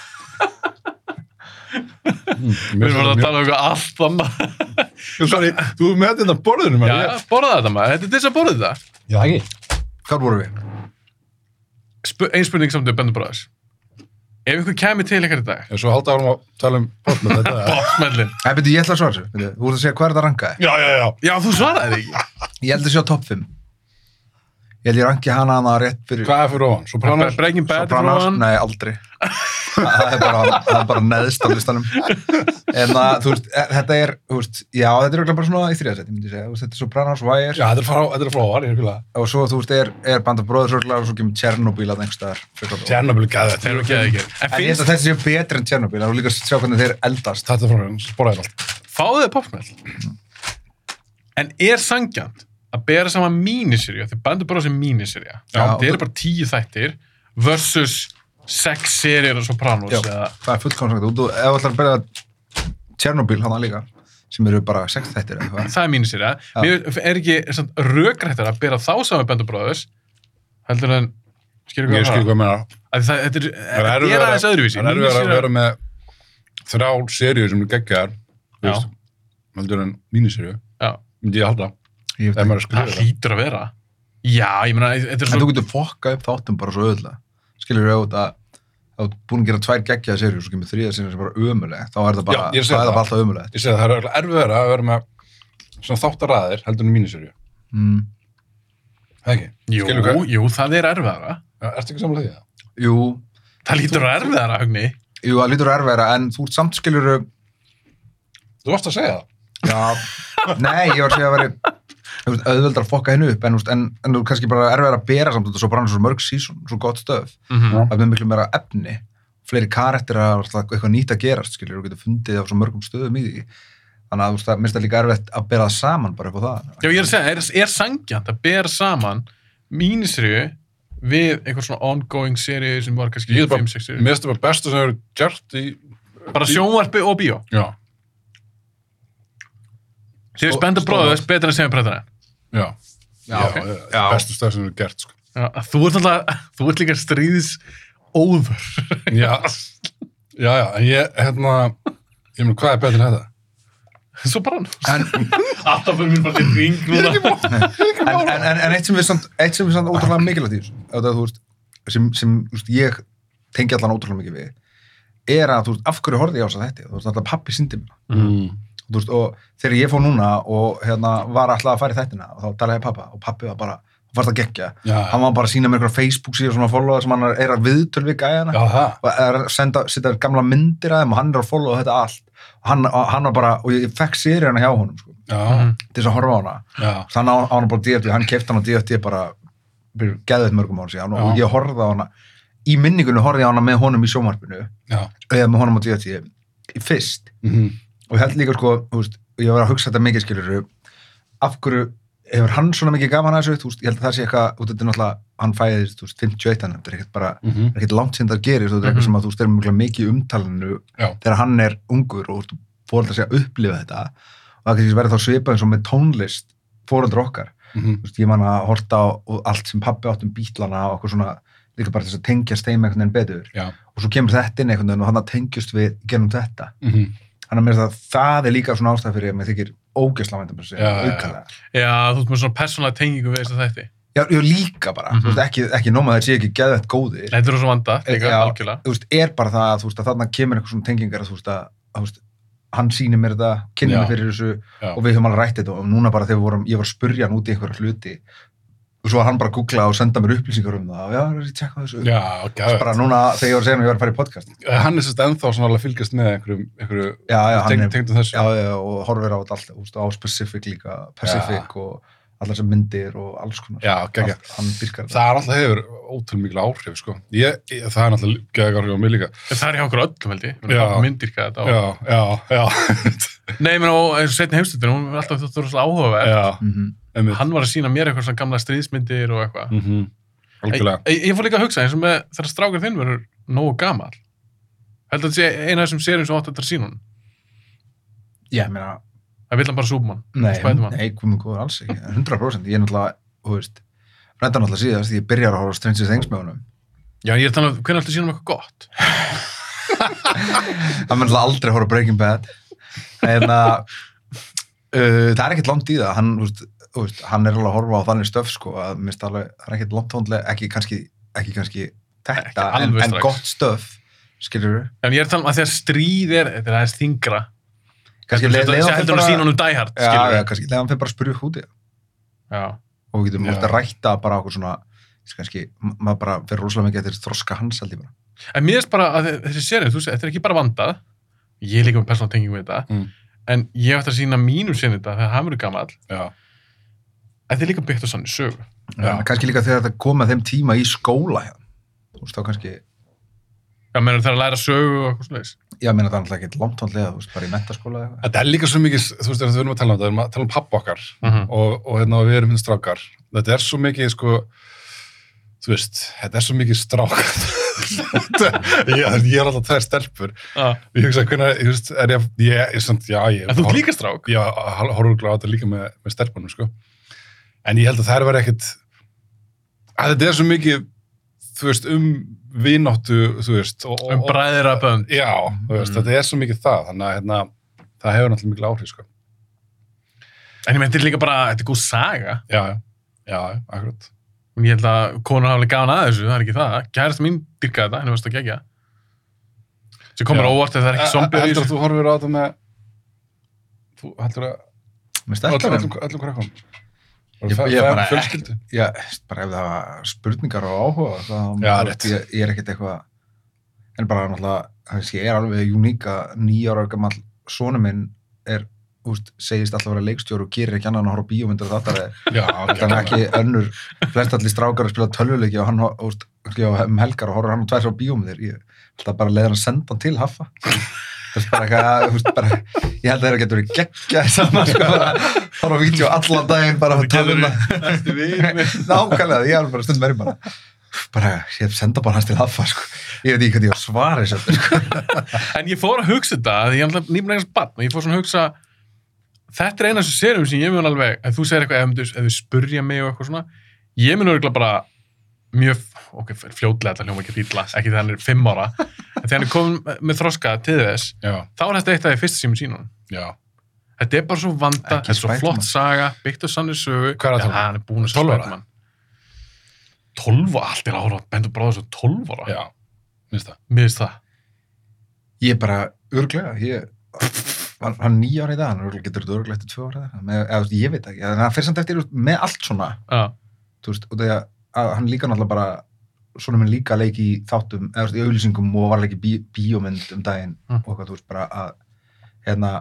Við erum bara að mjög- tala um eitthvað allt annað. Sorry, þú er með þetta borðinu, Já, maður. borða þetta maður, þetta er þess að borða þetta. Já, ekki. Hvar vorum við? Sp Einn spurning samt um Bendur Bráðars. Ef ykkur kæmi til ykkar í dag, En svo halda árum að tala um póka, þetta er... popsmellin. Æ, beti, ég ætla að svara þessu. Bíddu, Þú voru að segja hvað er þetta rankaði. Já, já, já. Já, þú svaraði ekki. Ég held að sé á topp 5. Ég held ég ranki hana hana rétt fyrir... Hvað er fyrir ofan? Svo Be- pranar? Breaking Bad er Sopranos? frá Nei, aldrei. það, er bara, það er bara neðst á listanum. En það, þú veist, e- þetta er, þú veist, já, þetta er örugglega bara svona í þriðasett, ég myndi segja. Þú veist, Þetta er Sopranos, Wire Já, þetta er frá- þetta er frá ofan, ég er fylgða. og svo, þú veist, er, er Band of Brothers örugglega, og svo kemur Tjernobyl að einhverstaðar. Tjernobyl gæði Þeir eru ekki að ekki. En En ég held finnst, að þessi séu betri en Tjernobyl, það er líka að sjá hvernig þeir eldast. Þetta er frá mér, sporaði allt. fáðu þið popsmell. En er sangjant að bera saman míniserja, því Bendur Bráðars er míniserja. Já. Það eru bara tíu þættir versus sex serjur og Sopranos. Já. Eða, Það er fullkomsagt. Þú, þú- ef þú ætlar að byrja Tjernobyl hana líka, sem eru bara sex þættir eða hvað. það er míniserja. Já. Mér er ekki rökrættar að bera þá saman Bendur Bráðars heldur en skilur Ég hvað skil hvað ég meina. Af því Það, þetta er, Það þetta er aðeins öðruvísi. Það er erfið að Míniserja- vera með þrjál serjur sem eru geggjar, Já. heldur en míniserju, Já, Ah, myndi ég halda, Ég veit ef ekki. maður er að það skrifa það. hlýtur að vera. Já, ég meina, þetta er En þú svo... getur fokkað upp þáttum bara svo öðlega. Skilur þú ef þú ert búin að gera tvær geggjaða serjur, svo kemur þriða serjur sem er bara ömuleg. Þá er það bara, Já, ég þá sé er það það. bara alltaf ömulegt. Ég segi að það er erfið að vera með svona þáttaræðir heldur en míniserju. Mm. Það ekki? Jú, skilur hvað- jú, það er erfiðara. Ertu ekki samanlega því það? Jú, Það lítur að erfiðara, Högni. jú, það lítur erfæra, en þú ert samt skilur Þú varst að segja það. Já, nei, ég var að segja að veri þú veist, auðveldar að fokka hennu upp en, þú veist, en, en þú kannski bara erfæra að bera samt þetta svo bara hann er svo mörg sísón, svo gott stöf Mhm. það er með miklu meira efni fleiri karakter að eitthvað nýtt að gerast skilur, og getur fundið á svo mörgum stöðum í því þannig að þú veist, það minnst það líka erfitt að bera það saman bara upp á það Já, ég er að segja, er, er sangjant að bera saman mínisriðu við einhver svona ongoing seriðu sem var kannski Ég er bara- 5-6 seriðu. Mér finnst það bara bestu sem hefur gert í... Bara sjónvarpi og bíó. Já. Þið Sko- er Stó- spennda stóra- bróðus betur en sem breytana. Já. Já, ok. já, Já. Bestu stöð sem hefur gert, sko. Þú ert alltaf, þú ert líka stríðis óður. Já. Já, já, en ég, hérna, ég meina, hvað er betur en þetta? Svo bara hann. en, Alltaf fyrir mér bara til ring núna. en, en, en, en eitt sem við samt, eitt sem við samt ótrúlega mikilvægt í þessu ef það, þú veist, sem, sem þú veist, ég tengi allan ótrúlega mikið við er að, þú veist, af hverju horfði ég á þess að þetta þú veist, alltaf pappi síndi mér Mm. og, þú veist, og þegar ég fór núna og hérna, var alltaf að fara í þættina og þá talaði ég við pappa og pappi var bara, hann varst að gegja Já, hann var bara að sína mér einhverja Facebook síðan svona followa sem hann er að viðtöl við gæjana já, það. og er að senda, setja gamla myndir að þeim og hann er að followa þetta allt og hann, og hann var bara, og ég fekk sér hjá honum sko, Já, Mhm. til þess að horfa á hana já. þannig að hann bara DFT, hann kefti hann á DFT bara fyrir geðveitt mörgum ára síðan og Já. ég horfði á hana í minningunni horfði ég á hana með honum í sjómarpinu Já. eða með honum á DFT í fyrst Mhm. og ég held líka sko, þú veist, og ég var að hugsa þetta mikið skilur af hverju hefur hann svona mikið gaman að þessu, þú veist, ég held að það sé eitthvað út þetta er náttúrulega, hann fæðist, þú veist, 51 hann, þetta er ekkert bara, Mhm. ekkert langt sem það gerir þú veist, þetta er eitthvað sem að þú veist, er mjög mikið í umtalinu Já. þegar hann er ungur og þú fórhaldar sig að upplifa þetta og það kannski verður þá svipað eins og með tónlist fórhaldar okkar, Mhm. þú veist, ég man að horta á og allt sem pabbi átt um bítlana og okkur svona, líka bara þess að tengjast þeim einhvern veginn betur Já. og svo kemur þetta inn einhvern veginn og þannig tengjust við gerum þetta Mhm. þannig að mér finnst að það er líka svona ástæð fyrir að mér þykir ógeðslega væntum þessu, Já, já, já. aukalega Já, þú ert með svona persónlega tengingu við þess að þetta. Já, já, líka bara, Mhm. þú veist, ekki, ekki nóma þeir séu ekki geðvægt góðir, Þetta er svo vanda, Eh, líka Já. algjörlega. þú veist, er bara það að, þú veist, að þarna kemur eitthvað svona tengingar að, þú veist, að, að þú veist, hann sýnir mér þetta, kynni Já. mér fyrir þessu Já. og við höfum alveg rætt þetta og núna bara þegar við vorum, ég var að spurja hann út í einhverja hluti og svo var hann bara að googla og senda mér upplýsingar um það og já, það er að tjekka á þessu. Já, Svo gæðið. bara núna þegar ég var að segja hann að ég var að fara í podcast. Hann er sérst ennþá svona alveg að fylgjast með einhverju, einhverju Já, já, hann teng, er, tengdum þessu. já, já, og horfir á þetta allt, þú veist, á Pacific líka, Pacific og allar sem myndir og alls konar. Já, gæðið. Allt- Hann virkar Það er alltaf hefur ótrúlega mikil áhrif, sko. Ég, ég, það er alltaf gæðið áhrif á mig líka. En Það er hjá okkur öllum, held ég. Já. Já. Myndirka þetta á. Já, já, já. Nei, menn, og eins og setni heimstöldin, hún er alltaf þetta rosalega áhugaverð. já, Mhm. einmitt. Hann var að sína mér eitthvað svona gamla stríðsmyndir og eitthvað. Mm -hmm. Algjörlega. Ég, ég fór líka að hugsa eins og með þegar strákur þinn verður nógu gamall. Held að þetta sé eina af þessum serum sem átt þetta að sína hún. Já, ég meina, Það vil hann bara súpa um hann. Nei, Spiderman. nei, komið góður alls ekki, 100% ég er náttúrulega, þú veist reynda náttúrulega síðast, ég byrjar að horfa á Stranger Things með honum Já, ég er þannig að hvernig alltaf sína um eitthvað gott. hann mun náttúrulega aldrei að horfa á Breaking Bad en að uh, það er ekkert langt í það hann, þú veist, þú veist, hann er alveg að horfa á þannig stöf sko, að minnst alveg, það er ekkert langt tónlega ekki kannski, ekki kannski þetta, Ekki en, alveg en strax. gott stöf skilur við, En ég er þannig að þegar stríð er, þetta er aðeins þingra. kannski Þetta leið- leið er hann heldur fyrir að sína bara hún um dæhart, já, skilur já, kannski leið hann fyrir bara að spyrja húti Já. og við getum Já. oft að rætta bara okkur svona kannski, ma- maður bara fyrir rosalega mikið eftir þroska hans held ég bara En mér finnst bara að þe- þessi serið, þú veist, þetta er ekki bara vandað, ég er líka með persónal tengingu við þetta, Mm. en ég ætti að sína mínum sinni þetta þegar hann verður gamall, Já, en þetta er líka byggt á sannu sögu. Já. Já. kannski líka þegar það kom að þeim tíma í skóla hjá. þú veist þá kannski Já, mennur þegar að læra sögu og eitthvað slags. ég meina það er náttúrulega ekki langt tónlega þú veist bara í mentaskóla eða eitthvað þetta er líka svo mikið, þú veist, við erum að tala um þetta, við erum að tala um pappa okkar og, og hérna, við erum hinn strákar. Þetta er svo mikið, sko, þú veist, þetta er svo mikið strákar. ég, ég er alltaf tvær stelpur. Ég hugsa, hvernig, ég veist, er ég, ég, ég, samt, já, ég... En þú ert líka strák. Já, horfuglega á þetta líka með, með stelpunum, sko. En ég held að það er verið ekkit... Að þetta er svo mikið, þú veist, um vináttu, þú veist, og... og- Um bræðir að bönd. Já, þú veist, Mm. þetta er svo mikið það, þannig að hérna, það hefur náttúrulega mikil áhrif, sko. En ég meina, þetta er líka bara, þetta er góð saga. Já, já, já, já, akkurat. En ég held að konur hafa alveg gaman að þessu, það er ekki það. Kærasta mín dyrkaði þetta, henni varst að gegja. Sem komur Já. á óvart að það er ekki zombið. Heldur að þú horfir á þetta með... Þú heldur að... með Öllum, stelpunum öllum, öllum krakkum. Ég- Það ég er bara- fjölskyldu. já veist, bara ef það var spurningar og áhuga þá þú Já, rétt. veist, ég, ég er ekkert eitthvað en bara náttúrulega kannski ég er alveg uník að nýjára gammal sonu minn er þú veist, segist alltaf að vera leikstjóri og gerir ekki annan en að horfa á bíómyndir og þetta er Já, þannig ekki önnur flest allir strákar að spila tölvuleiki og hann hor- þú veist, kannski á um helgar og horfir hann á tvær svo bíómyndir ég held að bara leiðir hann að senda hann til Haffa þú veist bara eitthvað þú veist, bara, ég held að þeirra getur verið geggja saman sko bara horfa á vídeo allan daginn bara að tala um það Ertu vinur? nákvæmlega, ég er bara stundum verið bara bara, ég senda bara hans til Haffa sko. ég veit ekki hvernig ég á að svara þessu öllu, sko. En ég fór að hugsa þetta, að ég er alltaf nýmur eignast barn og ég fór svona að hugsa þetta er eina sem sérum sem ég mun alveg ef þú segir eitthvað, ef, myndir- ef þú spurja mig og eitthvað svona ég mun örgulega bara mjög, ok, fljótlega þetta hljóma ekki ítla ekki þegar hann er fimm ára en þegar hann er komin með þroska til þess Já, þá er þetta eitt af því fyrst sem ég sín hún já. þetta er bara svo vanda, Ekki þetta er svo Spiderman. flott saga byggt á sannir sögu Hvað er að Já, tala um? hann er búin að sjá 12 ára? Spiderman 12 ára, allt er ára Bendur bráður svo 12 ára Já, minnst það. Mér finnst það. ég bara, örglega ég hann, hann nýjára í dag, hann örugglega getur þetta örglega eftir tvö ára eða, með- eða, þú veist, ég veit ekki, en það fyrir samt eftir þú veist, með allt svona Já. þú veist, og þegar að hann líka náttúrulega bara svona minn líka leik í þáttum eða þú veist, í auðlýsingum og var leik í bí, bíómynd um daginn Mm. og eitthvað, þú veist, bara að hérna,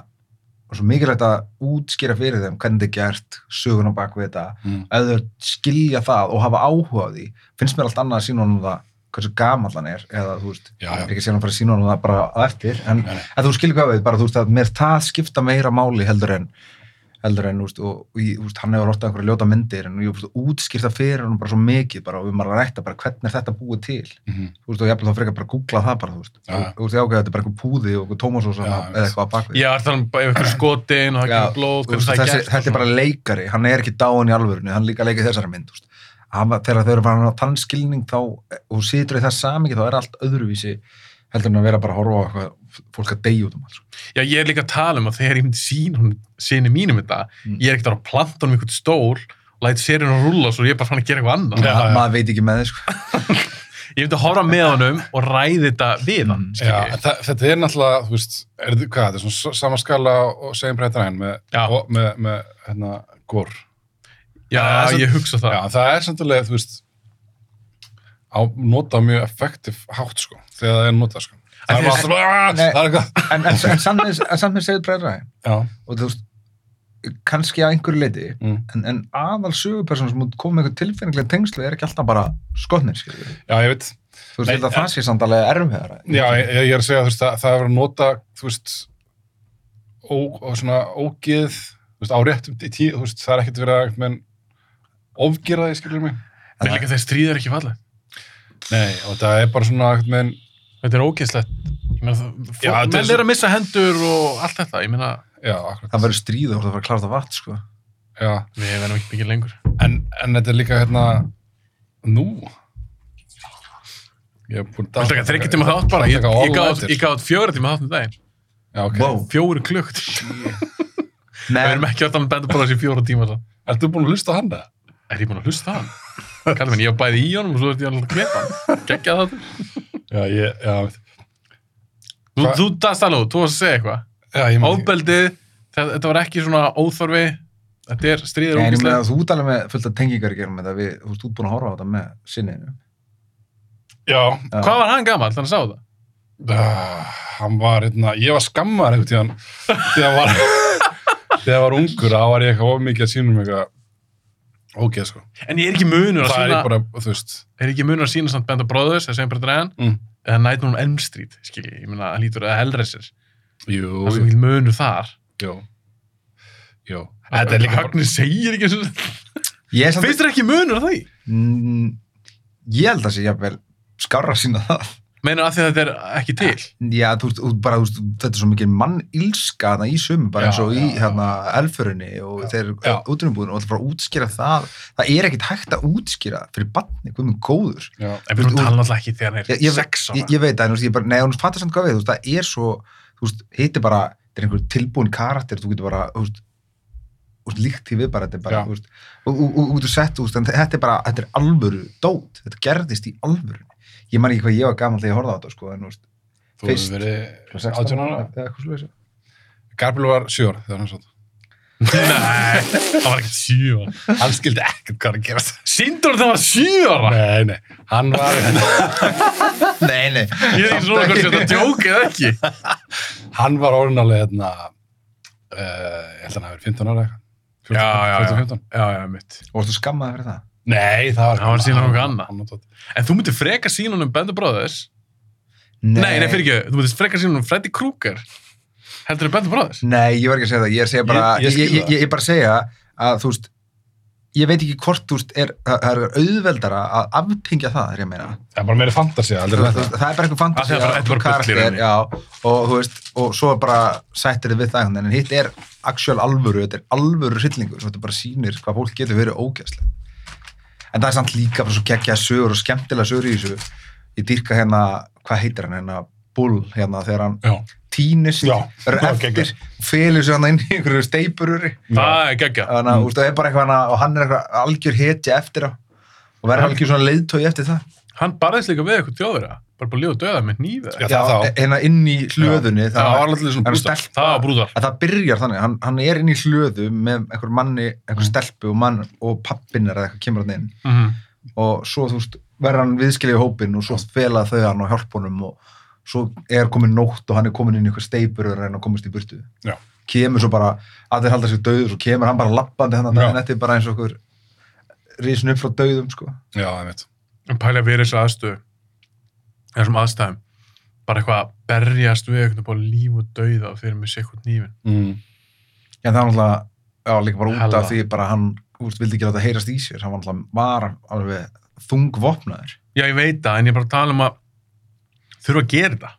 og svo mikilvægt að útskýra fyrir þeim hvernig þetta er gert söguna bak við þetta Mm. ef þau skilja það og hafa áhuga á því finnst mér allt annað að sína honum það hversu gamall hann er eða þú veist, Já, ég já. er ekki að sína hann fara að sína honum það bara að eftir en Nei, nei. að þú skilur hvað við, bara þú veist að mér það skipta meira máli heldur en heldur en, þú veist, og, og ég, þú veist, hann hefur orðið einhverja ljóta myndir en ég þú veist, útskýrta fyrir hann bara svo mikið bara og við maður að rætta bara hvernig er þetta búið til þú Mhm. veist, og ég ætla þá frekar bara að googla það bara, þú veist, Já. ja. og þú veist, já, ok, þetta er bara einhver púði og einhver tómasósa Já, eða veist. eitthvað á bakvið Já, það er um bara ykkur skotin og það Já, kemur blóð, Þú hvernig veist, það er þessi, gert. sko, þetta er bara leikari, hann er ekki dáin í alvörinu hann er líka leikið þessari mynd þú veist. eh, Hann var- þegar þau eru farin á tannskilning þá og situr í það samingi þá er allt öðruvísi heldur en að vera bara að horfa á eitthvað fólk að deyja út um allt sko. Já, ég er líka að tala um að þegar ég myndi sín hún, síni mínum þetta, Mm. ég er ekkert að fara að planta um einhvern stól og læt serien að rúlla svo ég er bara fann að gera eitthvað annað. Já, já. maður veit ekki með þið sko. Ég myndi að horfa með honum og ræði þetta við hann, Mm. Já, skilji. en þa- þetta er náttúrulega, þú veist, er, þið- hvað, þetta er svona s- sama skala og segjum breytta hæn með, Já. og- með, með hérna, gór. Já, það er ég hugsa það. Já, en það er samtilega, þú veist, á nota á mjög effektiv hátt, sko, þegar það er nota, sko. En Það er þið- bara alltaf, "Ah, Nei. það er eitthvað. en, en, en samt með- en samt með segir bræðræði Já, og þú veist, kannski að einhverju leiti mm. en, en aðal sögupersonu sem kom með eitthvað tilfinningilega tengslu er ekki alltaf bara skotnir skilur. við. já, ég veit. þú veist, Nei, ég held að það sé samt alveg erfiðara Já, ég, ég er að segja, þú veist, það, það er verið að nota, þú veist, ó, og svona ógeð, þú veist, á réttum í tíð, þú veist, það er ekkert verið að, menn, ofgera því, skilur mig. Nei, líka þeir stríðar ekki falla. Nei, og það er bara svona, menn, Þetta er ógeðslegt. Ég meina, það- Já, fólk- þetta er menn svo- er að missa hendur og allt þetta. Ég meina, já, akkurat. það verður stríð og þú ert að fara að klára það vatn sko. Já, við verðum ekki mikið lengur. en, en þetta er líka hérna nú ég er búin Viltu ekki að þryggja tíma þátt bara? Ég, Taka all ég gaf út- nighter. ég gaf út fjóra tíma þátt um daginn. já, ok Vá. Fjóri klukkt. Við erum Nei, ekki alltaf að benda bara þessi fjóra tíma þátt. ertu búin að hlusta á hann það? Er ég búin að hlusta á hann? Kallar minn, ég var bæði í honum og svo ert ég alveg að klepa hann. Gekkja það. já, ég, já, veit- Þú, Hva- þú dast alveg, út, þú varst að segja eitthvað. já, ég man ekki. Óbeldið, það- þetta var ekki svona óþorfi, þetta er stríðir nei, en ég meina ógæslega. að þú ert alveg með fullt af tengingar í gerum þetta við, þú veist, þú ert búin að horfa á þetta með sinninu já, Já. Hvað var hann gammal, þannig að sá það? uh, hann var hérna ég var skammar einhvern tíðan þegar hann var þegar hann var ungur, þá var ég eitthvað of mikið að sínum eitthvað ok, sko En ég er ekki munur að það er sína, ég bara, þú veist er ekki munur að sína samt Band of Brothers, eða sem bara dræðan, Mm. eða Nightmare on Elm Street, skilji, ég meina, hann lítur eða Hellraiser. jú, Það er mikil munur þar. jú, jú þetta er líka bara Högnir segir ekki svona. ég, er samt- Finnst þér ekki munur að því? Mm, ég held að sé jafnvel skarra sína það Meinar að því að þetta er ekki til. já, þú veist, þú veist, bara, þú veist, þetta er svo mikil mannilska þarna í sömu, bara Já, eins og í já, hérna, elförinni og Já, þeir já. útrunubúðinu og það fara að útskýra það það er ekkit hægt að útskýra fyrir barni, hvað minn góður já, En við erum talað alltaf ekki þegar hann ég, er ég, sex ára. ég, ég veit að, þú veist, ég bara, nei, hún fattar samt hvað við, þú veist, það er svo þú veist, hitti bara, þetta er einhver tilbúin karakter, þú getur bara, þú veist þú veist, líkt því við bara, þetta er bara, Já. þú veist og- og og- og þú getur sett, þú veist, en þetta er bara þetta er alvöru dót, þetta gerðist í alvöru ég man ekki hvað ég var gaman þegar ég horfði á þetta, sko, en þú veist, þú hefur Fyrst. verið 16 18 ára eða eitthvað svoleiðis. Garbil var 7 ára þegar hann satt Nei, það var ekki sjö ára. hann skildi ekkert hvað er að gerast Sindur það var sjö ára. nei, nei, hann var nei, nei, Ég er ekki svona hvort þetta er djók eða ekki. hann var orðinalið hérna uh, ég held að hann hafi verið 15 ára eitthvað. Já, 14, já, já. 14, 15. Já, já, mitt. og þú skammaði fyrir það nei, það var Hann var síðan nokkuð annað. hann var tótt. En þú myndir freka sína honum Band of Brothers. Nei, nei, fyrir ekki. Þú myndir freka sína honum Freddy Krueger. Heldur þau Band of Brothers? Nei, ég var ekki að segja það, ég er að segja bara, Ég- ég ég, skil ég, ég, það. ég, bara segja að þú veist, ég veit ekki hvort þú veist, er, það það er auðveldara að afpingja það, er ég að meina. það er bara meiri fantasía Þú heldur en veist, þú þetta veist, Það er bara Af því einhver fantasi að bara- þetta er bara bull í rauninni. já, og þú veist, og svo er bara sættir þið við það, einhvern veginn, en hitt er actual alvöru, þetta er alvöru hryllingur, svo þetta bara sýnir hvað fólk getur verið ógæslega. En það er samt líka bara svo geggja sögur og skemmtilega sögur í þessu. Ég dýrka hérna, hvað heitir hann hérna, Bull hérna, þegar hann já, tínist Já, er já, eftir, geggjað. felur sig hann inn í einhverju steipurur Það er geggja. þannig að úst, það er bara eitthvað hana, og hann er eitthvað algjör hetja eftir á og verður algjör svona leiðtói eftir það Hann barðist líka við eitthvað þjóðverða. Bara búin að lífa og döða með nýfið. Já, það þá. e- hérna inn í hlöðunni það það, var alltaf svona það er brúta stelp Það var brúðar. að það byrjar þannig, hann, hann er inn í hlöðu með einhver manni, Mm. einhver stelpu og mann og pappin er eða eitthvað kemur hann inn Mhm. og svo þú veist, verður hann viðskilja í hópin og svo fela þau hann og hjálpa honum og svo er komin nótt og hann er komin inn í eitthvað steipur og reyna að komast í burtu Já. kemur svo bara, að þeir halda sig döður svo kemur hann bara lappandi þannig að Já. daginn eftir bara eins og okkur risin upp frá döðum sko. já, ég veit En pæli að vera í þessu aðstöðu. Þessum aðstæðum. Bara eitthvað að berjast við eitthvað bara líf og dauða og þeir eru með sér eitthvað nýfin. mm. en það er náttúrulega, já líka bara út Hella. af því bara hann, þú veist, vildi ekki láta heyrast í sér hann var náttúrulega var alveg þungvopnaður Já, ég veit það, en ég er bara að tala um að þurfa að gera þetta.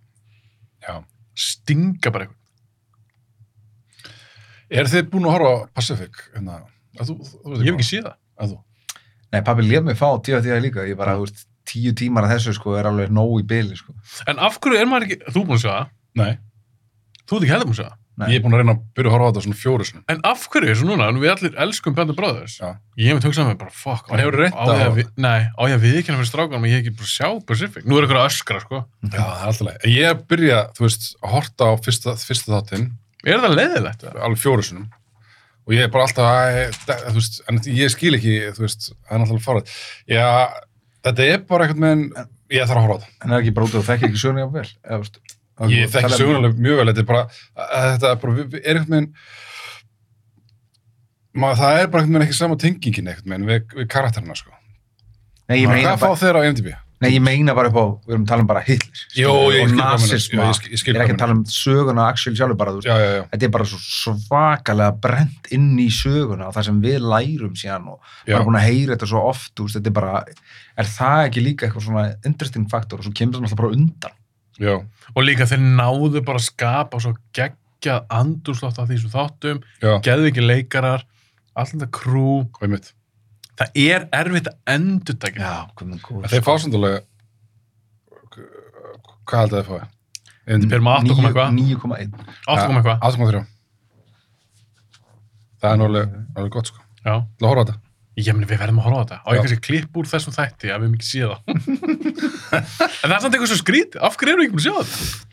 já. Stinga bara eitthvað. er þið búin að horfa á Pacific hérna, að þú, þú, þú Ég hef ekki séð það. að þú nei, pabbi lef mig fá tíu að tíu líka, ég bara, þú veist tíu tímar af þessu sko er alveg nóg í byli sko. En af hverju er maður ekki, þú er búin að sjá það, Nei, þú ert ekki heldur búin að sjá það. Nei. ég er búin að reyna að byrja að horfa á þetta svona fjóru sinum. En af hverju, svo núna, nú við allir elskum Band of Brothers, Já. ég hef hugsað mér bara, fuck, En hefurðu reynt á ég að- að, við- nei, á ég að við ekki hennar fyrir strákanum, ég hef ekki bara sjá Pacific. Nú er ykkur að öskra, sko. Já, það er alltaf leið. Ég byrja, þú veist, að horta á fyrsta, fyrsta þáttinn, Er það leiðilegt? eða? alveg fjóru sinum. Og ég er bara alltaf, æ, það- þú veist, en ég skil ekki, þú veist, það er alltaf fárað. Já, þetta er bara eitthvað með, ég þarf að horfa á þetta. en það er ekki bara út og þekki ekki söguna jafnvel eða, veist, það er Ég bara- þekki tala- sögunalega mjög vel, þetta er bara, að þetta er bara, við- við- er eitthvað með, maður, það er bara eitthvað með ekki sama tengingin eitthvað með við, við karakterina, sko. Nei, ég meina Hvað fá bara, þeir á MDB? nei, ég meina bara upp á, við erum að tala um bara Hitler Jó, ég og skil hvað meinar. nasisma, Já, ég ég, skil- ég skil er hvað ekki að tala um söguna actually sjálfur bara, þú veist, Já, já, já. þetta er bara svo svakalega brent inn í söguna og það sem við lærum síðan og Já. maður er búin að heyra þetta svo oft, þú veist, þetta er bara er það ekki líka eitthvað svona interesting faktor og svo kemur það alltaf bara undan Já, Og líka þeir náðu bara að skapa svo geggjað andurslótt af því sem þáttum, já, geðu ekki leikarar, allt þetta krú. hvað er mitt? Það er erfitt að endurtækja. Já, hvað með góð Þeir fá samtalið, hvað heldur þeir fáið? Þeir MDB? eru með 8 koma eitthvað, 9,1 8 koma eitthvað, 8,3. Það er nú alveg, alveg gott, sko. já. Til að horfa á þetta. Ég meni, við verðum að horfa á þetta. Á ég Já. kannski klipp úr þessum þætti að við mikið séð það. en það er samt eitthvað svo skrítið. Af hverju erum við ekki búin að sjá þetta?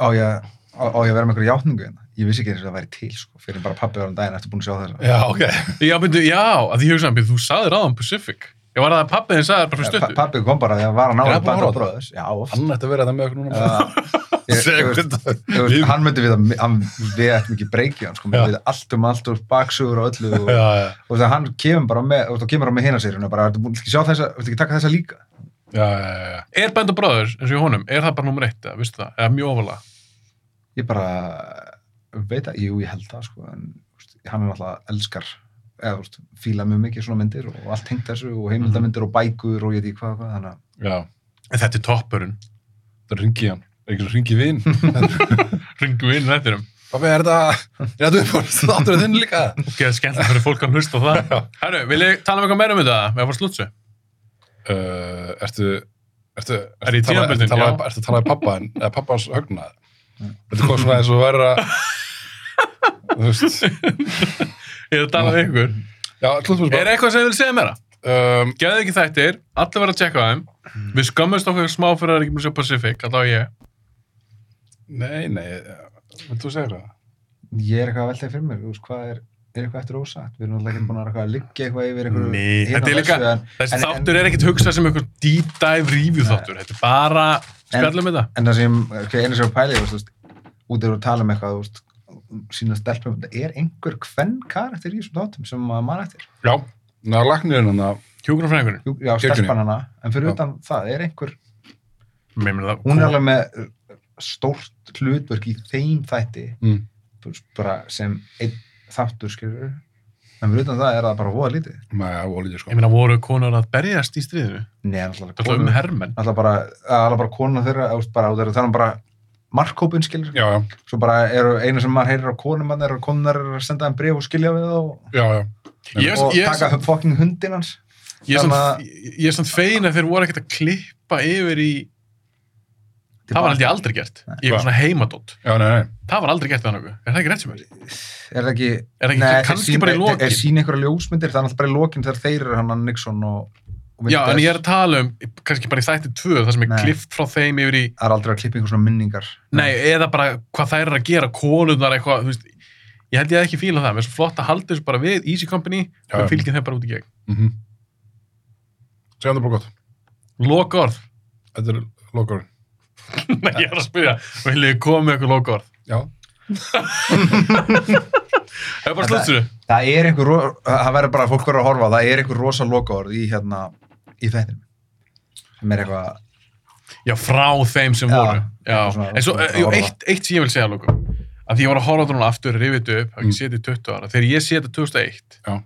á ég, á, á ég að vera með einhverju játningu hérna? Ég vissi ekki eins og það væri til, sko, fyrir bara pappi var um daginn eftir búin að sjá þessa. Já, ok. Já, myndu, já, að því ég hugsaði, "Bíddu, þú saði ráðan Pacific. Ég var að það pappið þinn sagði það bara fyrir Eh, Pa- stuttu. Pappi kom bara þegar hann var að Er nála hann búinn að Band of horfa á Brothers. Já, oft. Hann ætti að vera það með okkur núna. Já, ég- ég veist- ég Segðu veist, hvernig það. hann myndi við að hann, við ættum ekki breykja hann sko, Já. við veitum allt um allt og baksugur og öllu og, Já, já, og það hann kemur bara með og það kemur hann með hina sér og bara, ertu búin að sjá þessa, ertu ekki taka þessa líka já, já, já. Er Band of Brothers, eins og í honum, er það bara nummer eitt, eða, veistu það? Eða mjög ofalega. ég bara, veit að, jú ég held það sko, en þú veist, hann er náttúrulega elskar eða, þú veist, fíla mjög mikið svona myndir og allt hengt þessu og heimildamindir og bækur og ég veit ekki hvað, og hvað, þannig að Já, En þetta er toppurinn. það ringi hann. Ekkert ringi vinn. Ringum við inn rættinum. Pappi, er þetta, er þetta uppáhalds þátturinn þinn líka? Ok, það er skemmtilegt fyrir fólk að hlusta á það. Herru, vil ég tala um eitthvað meira um þetta? Við erum að fara slútsu. Uh, ertu, ertu, Er ég í ertu, tala, ertu, tímabundin? tala, Já. ertu að tala við pappa en, eða pappa hans högna? Þetta kom svona eins og verður að, þú veist, Ég er að tala um ykkur. já, klúttum við Er e- eitthvað sem ég vil segja meira? bara. Um, Gæði ekki þættir, allir verða að tjekka á þeim. Hmm. Við skömmumst okkur smá fyrir að það er ekki búin að sjá Pacific, allavega ég. nei, nei, eh, vilt þú segja það? ég er eitthvað að veltaði fyrir mér, þú veist, hvað er, er eitthvað eftir ósagt, við erum alltaf ekki búin að eitthvað að liggja eitthvað yfir einhverju Nei, hinu þetta er og líka- þessu, en, Þessi En- en- þáttur er ekkert hugsað sem einhver deep dive review þáttur. Þetta er bara spjallum þetta. en það sem, ok, einu sem pæli þú veist, þú veist, út er að tala um eitthvað þú veist, sína stelpum, það er einhver hvern karakter í þessum þáttum sem maður mann eftir Já, ná, lagnirinn hann að, Hjúgrunarfræðingurinn. Jú, já, Kirkjunni. stelpan hana, en fyrir Já. utan það er einhver, Mér meina það. hún er alveg með uh, stórt hlutverk í þeim þætti mm, þú veist, bara sem einn þáttur skilur en fyrir utan það er það bara voða lítið með ólítið, Ég sko. meina voru konar að berjast í stríðinu. Nei, náttúrulega Alltaf um hermenn. alltaf bara, alltaf bara kona þeirra þú veist, bara, þú veist, það er bara markkópin skilur, Já, já, svo bara eru einu sem maður heyrir á konum hann er og konunar er að senda hann bref og skilja við það og, já, já. Ég er- og ég er taka samt- fucking hundin hans ég er Þannig samt- ég er samt fegin að þeir voru ekkert að klippa yfir í... Það var held ég aldrei gert. Ég var Hvað? svona heimadótt. Já, nei, nei. Það var aldrei gert þannig. Er það ekki rétt sem er? er það ekki, Er það ekki Nei, kannski þeir bara í sýna- lokin? er sín einhverja ljósmyndir, það er alltaf bara í lokin þegar þeir eru hann að Nixon og, og Já, en Winters. ég er að tala um, kannski bara í þætti tvö, það sem er Nei. klift frá þeim yfir í... það er aldrei að klippa einhver svona minningar Nei, eða bara hvað þær eru að gera, konurnar eitthvað, þú veist, ég held ég að ekki fíla það, mér er svo flott að halda þessu bara við, Easy Company, Já, já. og fylgja þeim bara út í gegn. Mhm. Segðan það bara gott. Loka orð. Þetta er lokurinn. Nei, ég er að spyrja, viljið þið koma með eitthvað loka orð? Já. Það er bara sluttur það er einhver, ro- það verður bara að fólk verður að horfa það er einhver rosa lokaorð í hérna í þættinum sem er eitthvað Já, frá þeim sem Já, voru. Já, eitthvað svona- en svo, eh, svona- jú, svona- eitt, eitt sem ég vil segja loka, að því ég var að horfa á þetta núna aftur, rifið þetta upp, hafði Mm. ekki séð þetta í 20 ára, þegar ég séð þetta 2001, Já.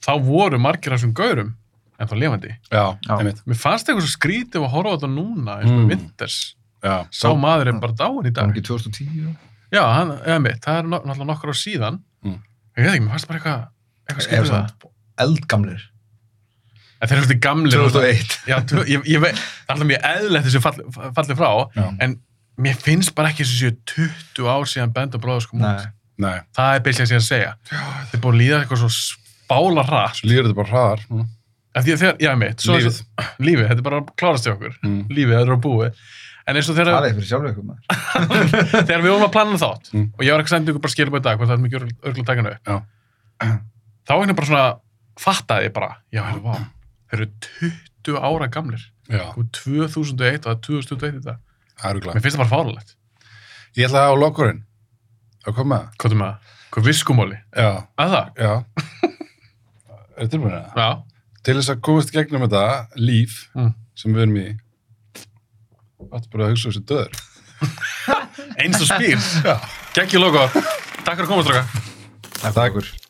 þá voru margir af þessum gaurum, en þá levandi. Já, Já. einmitt. Mér fannst eitthvað svo skrítið að horfa á þetta núna, eins og Mm. mm. vinters. Já. Sá maður er bara dáin í það er dag. ekki 2010 Já, hann, eða mitt, það er no- náttúrulega nokkur ár síðan. Mm. Ég veit ekki, mér fannst bara eitthvað, eitthvað eða skilur það. svona eldgamlir En þeir eru svolítið gamlir. og- 2001 Já, tvö, ég, ég veit, það er mjög eðlilegt þessu falli, falli frá, Já. en mér finnst bara ekki þessu séu 20 ár síðan Band of Brothers kom út. Nei. Nei, Það er byrjað síðan að segja. Þeir búið að líða eitthvað svo spála hratt. svo líður þetta bara hraðar. Mhm. núna. Af Því að þegar, já, mitt. Svo Lífið. Lífið, þetta er bara að klárast í okkur. Mm. Lífið, þetta er að búið. En eins og Það þegar, er fyrir sjálfur ykkur maður þegar við vorum að plana þátt Mm. og ég var ekki sendið ykkur bara skilum í dag hvort það er mikið örgulega að taka hann upp. Já. Þá er bara svona, fattaði ég bara, já, hérna, vá, þeir eru 20 ára gamlir. Já, Kom 2001 og það er 2021 í dag. það eru glæð. Mér finnst það bara fáralegt. Ég ætla að hafa lokurinn. Það kom með það. Hvað er með það? Hvað viskumóli? Já, Að það? já. Er tilbúin að það? Já. Til þess að komast í gegnum þetta líf Mm. sem við erum í, áttu bara að hugsa þessu döður. Eins og spýr. Já. Gekki logo. Takk fyrir að koma, stráka. Takk Takk.